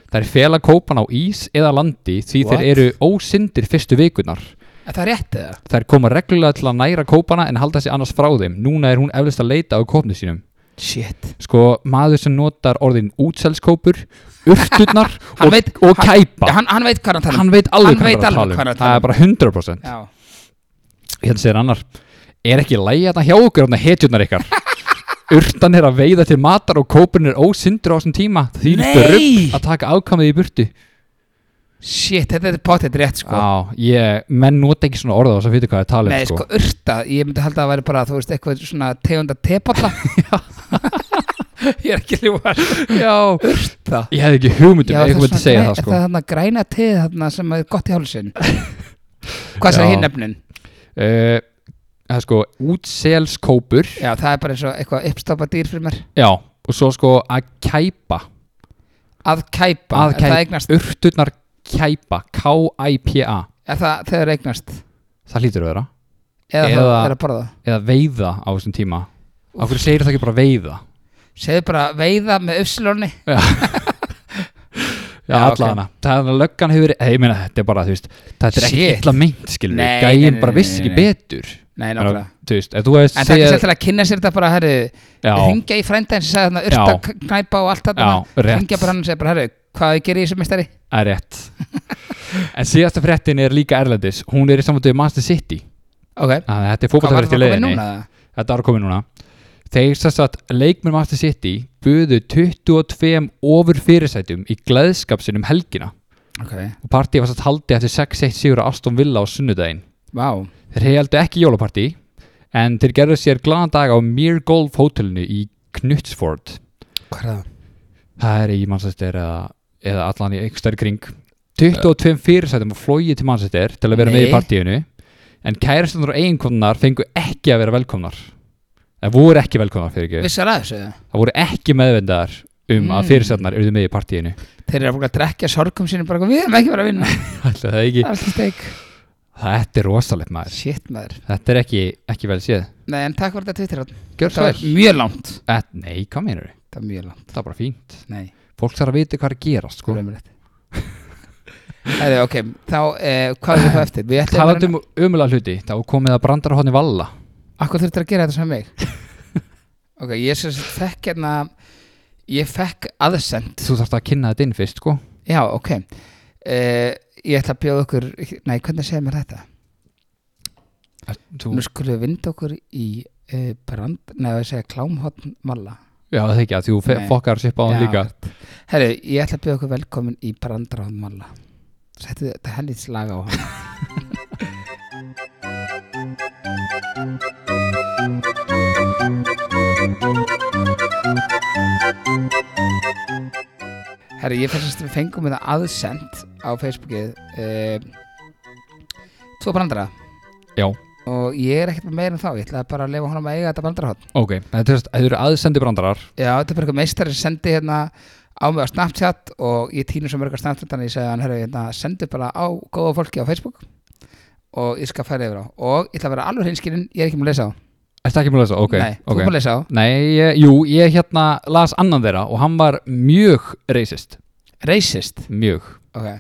S3: það er fela kópan á ís eða landi því
S2: What?
S3: þeir eru ósindir fyrstu vikunar
S2: Er það rétt eða?
S3: þær koma reglulega til að næra kópana en halda sig annars frá þeim núna er hún eflist að leita á kópnu sínum
S2: Shit
S3: sko maður sem notar orðin útselskópur, urturnar
S2: Hann
S3: og,
S2: veit-
S3: og
S2: hann-
S3: kæpa
S2: Já, hann, hann veit hvað hann tala um.
S3: hann veit alveg
S2: hann
S3: hvað
S2: veit
S3: hann er að
S2: alveg hvað
S3: tala
S2: hann
S3: um
S2: er að tala um.
S3: það er bara 100%
S2: Já,
S3: hérna segir annar er ekki lægi að það hjá okkur hérna hetjurnar ykkar urtan er að veiða til matar og kópurinn er ósindur á þessum tíma því lítur
S2: Nei!
S3: upp að taka afkamið í burtu
S2: shit, þetta er pottet rétt sko
S3: á, ég, menn nota ekki svona orða og svo veitu hvað um, það er talið
S2: Nei, sko, urta, ég myndi halda að það væri bara, þú veist, eitthvað svona tegunda tepalla Ég er ekki ljúfar
S3: já,
S2: Urta
S3: ég hef ekki hugmyndum
S2: Já,
S3: eitthvað myndi segja
S2: græ-
S3: það sko
S2: Það er þarna græna teð þarna sem er gott í hálsinn Hvað
S3: Já.
S2: sér hinn nefnin?
S3: Eh, það er sko útselskópur
S2: Já, það er bara eins og eitthvað uppstoppað dýr fyrir mér
S3: já, og svo sko að kæpa
S2: Að kæpa,
S3: að
S2: er það
S3: kæpa,
S2: eignast
S3: urturnar kæpa K-I-P-A,
S2: Er það þegar eignast?
S3: það hlýtur að vera
S2: Eða,
S3: Eða-
S2: það er að borða
S3: eða veiða á þessum tíma á hverju segir það ekki bara veiða
S2: Segðu bara veiða með uppslóni
S3: Já,
S2: Já, ok.
S3: alla hana, það er að löggan hefur verið- ég meina, þetta er bara, þú veist, þetta er ekki
S2: Shit.
S3: illa meint, skilur
S2: Nei,
S3: við,
S2: nei,
S3: gæin
S2: nei,
S3: bara
S2: nei, nei,
S3: vissi ekki
S2: nei.
S3: betur
S2: Nei,
S3: En
S2: nákvæmlega
S3: að- þú veist, ef þú hefði
S2: En það er ekki sér
S3: segjað
S2: til að kynna sér þetta bara, herru
S3: já,
S2: Hringja í frænda hans og segja þarna urta knæpa og allt þetta
S3: Já, rétt.
S2: Hringja bara hann og segja bara, herru, hvað gerir í þessu mistari?
S3: það er rétt en síðasta fréttin er líka erlendis hún er í samvættu við Master City
S2: Ok,
S3: Þannig að þetta er
S2: hvað var það að
S3: fókbaltarfrétt í
S2: koma
S3: leiðinni
S2: núna?
S3: þetta var komið núna þeir sess að leikmenn Master City buðu 22 ofur fyrirsætum í gleðskapsinn um helgina
S2: Ok,
S3: og partíð var satt haldið eftir 6-1 sigur á Aston Villa á sunnudaginn
S2: vá
S3: þeir heldu ekki jólapartí en þeir gerðu sér glaðan dag á Mere Golf hótelinu í Knutsford
S2: Hvað er það?
S3: það er í Manchester eða, eða allan í einhverstað kring 22 fyrirsætum og flóið til Manchester til að vera með
S2: Nei.
S3: í partíinu en kærastunar og eiginkonar fengu ekki að vera velkomnar en voru ekki velkomnar fyrir ekki
S2: Vissar að þessu?
S3: það voru ekki meðvendaðar um
S2: Mm.
S3: að fyrirsætnar eruðu með í partíinu
S2: Þeir eru að búin að drekja sorgum sínum bara, við erum ekki verið að vinna
S3: Ætli það ekki
S2: Það er alltaf steik
S3: Þetta er rosalegt maður
S2: Shit maður
S3: Þetta er ekki, ekki vel séð
S2: Nei en takk fyrir þetta Twitter Það
S3: Gjör svo
S2: var mjög langt
S3: vel Nei, hvað meinar þau?
S2: Það var mjög langt
S3: Það er bara fínt
S2: Nei,
S3: Fólk þarf að vita hvað er að gerast sko.
S2: það er umrætt Herri, ok, þá, eh, hvað er það eftir? Við ætlum
S3: Talandi um umulega hluti Þá er komið að brandara hodni valla
S2: Akkur þurftir að gera þetta sem mig Ok, ég sem sagt fekk hérna Ég fekk aðsend
S3: Þú þarfst að kynna þetta inn fyrst sko.
S2: Já, ok eh, Ég ætla að bjóða okkur Nei, hvernig segir mér þetta?
S3: Þú,
S2: Nú skulum við vinda okkur í uh, brand, neða að segja klámhotn malla.
S3: Já það er ekki að þú
S2: Nei.
S3: fe- fokkar sér báðan
S2: Já.
S3: líka
S2: Herru, ég ætla að bjóða okkur velkomin í brandarhotn malla. Settu þetta helvits lag á hann. Herru, ég fannst að við fengum hérna þetta aðsend á Facebookið. Uh, tvo eh, brandara.
S3: Já
S2: og ég er ekkert með meira en þá, ég ætlaði bara að lefa honum að eiga þetta bandarhótt
S3: Ok, þetta er- þetta eru aðsendi brandarar
S2: já, þetta er bara eitthvað meistari sem sendi hérna á mig á Snapchat og ég týnur svo mörgar Snapchat þannig að ég segi hann, herru, hérna, sendu bara á góða fólki á Facebook og ég skal færa yfir á og ég ætla að vera alveg hinskilinn, ég er ekki múin að lesa á
S3: Ertu ekki múin að lesa? Ok,
S2: nei, þú
S3: ok.
S2: er múin að lesa á
S3: Nei, ég, jú, ég hérna las annan þeirra og hann var mjög racist
S2: racist,
S3: Mjög,
S2: ok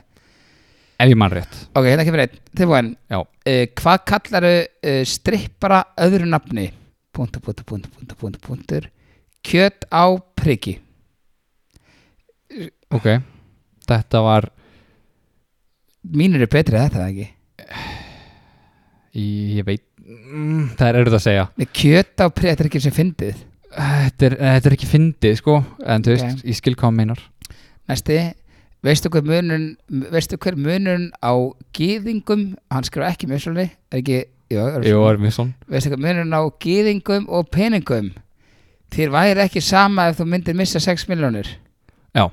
S3: ef ég mann rétt
S2: ok, hérna kemur einn, tilbúin
S3: Já,
S2: uh, hvað kallaru uh, strippara öðru nafni punktur, punktur, punktur, punktur, punktur, punktur kjöt á priki
S3: ok Þetta var,
S2: mínir eru betri að þetta eða ekki
S3: ég veit mm, Það er erut að segja
S2: Nei, kjöt á priki, þetta er ekki sem fyndið
S3: Þetta er, þetta er ekki fyndið, sko En þú veist, ég skil hvað hann meinar
S2: næsti, veistu hver munun veistu hver munun á gýðingum, hann skrifa ekki mjög svolítið er ekki, jú, er,
S3: Jú, er mjög svon
S2: veistu hver munun á gýðingum og peningum þér væri ekki sama ef þú myndir missa 6 miljónir
S3: Já,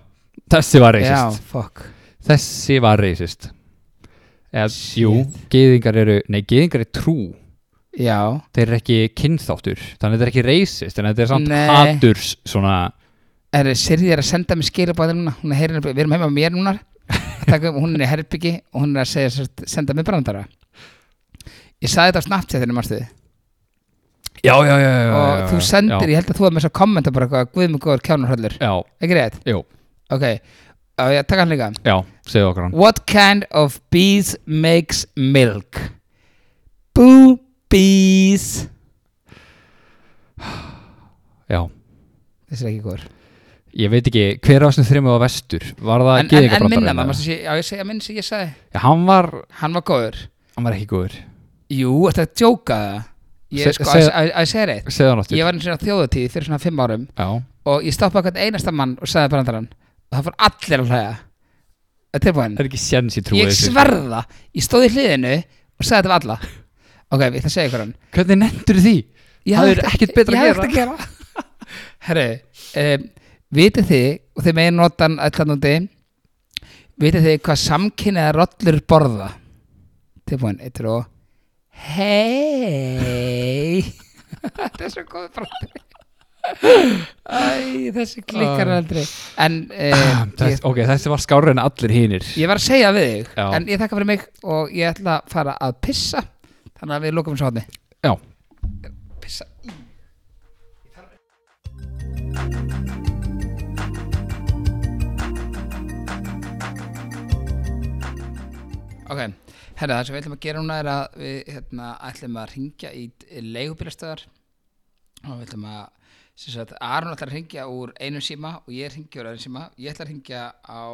S3: þessi var
S2: já,
S3: racist
S2: fuck
S3: Þessi var racist Eða, jú, geðingar eru Nei, geðingar eru trú
S2: já,
S3: Þeir eru ekki kynþáttur Þannig þetta er ekki racist En þetta er samt
S2: Nei.
S3: haturs svona
S2: er Sirði er að senda mér skilabáði núna hún er heyrin, við erum heima með mér núna Að taka upp- hún er í herbyggi og hún er að segja, sem sagt, senda mér brandara ég sagði þetta á Snapchatinu marstu
S3: Já, já, já, já
S2: og þú sendir,
S3: já,
S2: ég held að þú var með svo kommenta bara eitthvað, guðmur góður kjánurhöllur
S3: Já,
S2: ekki rétt?
S3: jú,
S2: ok, á ég að taka hann líka
S3: já, segðu okkur hann
S2: what kind of bees makes milk? boo bees
S3: Já,
S2: þessi er ekki góður
S3: ég veit ekki Hver af þessum þremmu var vestur? Var
S2: en, en, en
S3: það
S2: minna
S3: geðingabrandar?
S2: maður, manstu sé- á ég að segja minn sem ég sagði
S3: Já, hann var
S2: hann var góður
S3: Hann var ekki góður
S2: Jú, ertu að djóka það? Ég,
S3: Se-
S2: sko,
S3: segð-
S2: að, að segja reitt
S3: Segðu hann aftur
S2: Ég var eins og þjóðutíð fyrir svona fimm árum
S3: Já,
S2: og ég stoppaði hvern einasta mann og sagði brandarann og það fór allir að hlæja Það er tilbúin
S3: það er ekki séns ég trúi
S2: Ég
S3: þessu.
S2: sverða, ég stóð í hliðinu og sagði þetta við alla Ok, ég ætla að segja ykkur hann
S3: Hvernig nendur því?
S2: Ég
S3: Það
S2: hafði
S3: er
S2: ekkert-
S3: ekkert betra
S2: ég
S3: að
S2: hafði ekkert að gera Herru, um, vitið þið og þið megin notan allanúti vitið þið hvað samkynniða rollur borða tilbúin, eittur og hei þetta er svo góð brandi Æ, þessi klikkar
S3: Ah.
S2: aldrei en uh,
S3: Þess,
S2: ég,
S3: ok, þessi var skárri en allir hinir
S2: ég var að segja við þig
S3: Já.
S2: en ég þakka fyrir mig og ég ætla að fara að pissa þannig að við lókum svo hodni
S3: Já,
S2: pissa Ok, herra það sem við ætlum að gera núna er að við hérna, ætlum að ringja í leigubílastöðar og við ætlum að sem sagt, Aron ætlar að ringja úr einum síma og ég ringi úr einum síma ég ætla að ringja á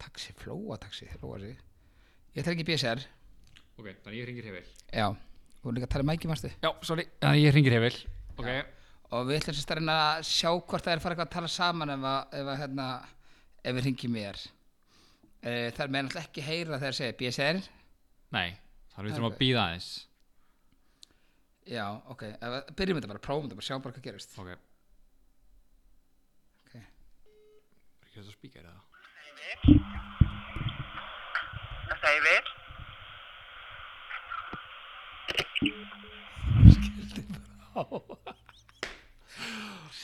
S2: taxi, flóa taxi, þeir flóa sig ég ætla að ringja í BSR
S3: Ok, þannig ég ringir hefil
S2: já, og líka að tala um mæki marstu
S3: Já, sorry, þannig ég ringir hefil Ok
S2: og við ætlum sérst að reyna að sjá hvort það er að fara eitthvað að tala saman ef, að, ef, að, hérna, ef við ringjum mér e, það er með náttúrulega ekki heyra þegar segja BSR
S3: Nei, þannig við
S2: þurfum að
S3: býða aðeins
S2: já, ok, ef að- byrjum þetta bara, prófum þetta bara, sjáum bara hvað gerist
S3: Ok Ok
S2: Ok.
S3: Ekki þetta spíkar eða?
S5: David?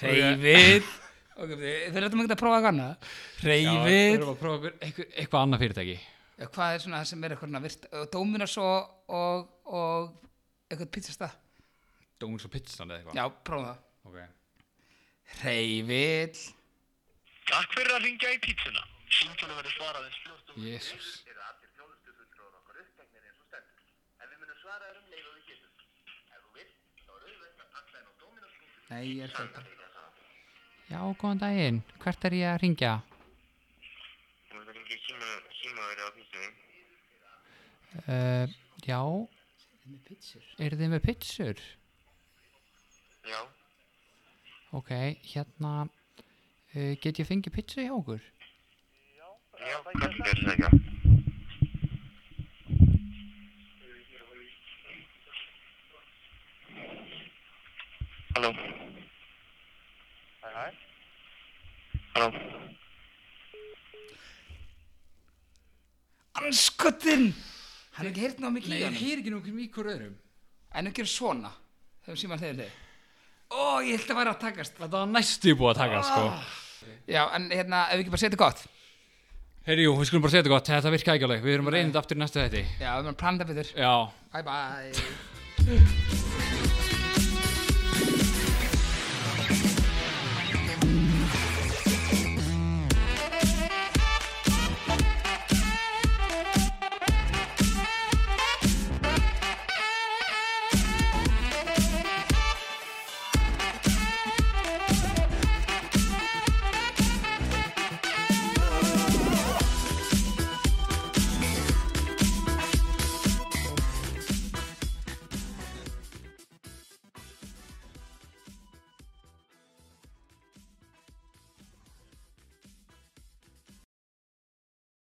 S2: reyfið ok, þeir eru þetta að prófa eitthvað annað
S3: Við
S2: reyfið
S3: erum að prófa okkur eitthvað, eitthvað annað fyrirtæki
S2: hvað er svona það sem er eitthvað svona virt Dominos og, og, og eitthvað pizzasta
S3: Dómins og pizzan eða eitthvað
S2: já, prófum það
S3: Ok
S2: reyfið
S5: Takk fyrir að ringja í pítsuna. Símtjónu verður svarað eins fljótt og
S3: Jésús
S5: um
S2: nei, ég er ekki
S3: Já, góðan daginn, hvert er ég að ringja?
S5: Þú verður að ringja í síma, síma verið á pítsuna.
S3: Uh, já Eru þið með pizzur?
S5: Já,
S3: Ok, hérna uh, Get ég fengið pizzu hjá okkur?
S5: já, hvernig gerðu það ekki? Halló? Hæ, hæ? Halló?
S2: anskotin hann er ekki heyrt ná mikið í honum.
S3: heyr ekki nokkuð mikið öðrum
S2: en ekki svona þegar síma hliðið hlið ó, ég held að væri að takast
S3: Þetta var næstu búið að taka, sko.
S2: já, en hérna, ef við ekki bara setja gott
S3: Herri, jú, við skulum bara segja þetta gott. Þetta virka ekki alveg. Við erum að reynda aftur í næstu þetta.
S2: já, við erum að plana þetta betur
S3: Já.
S2: bye bye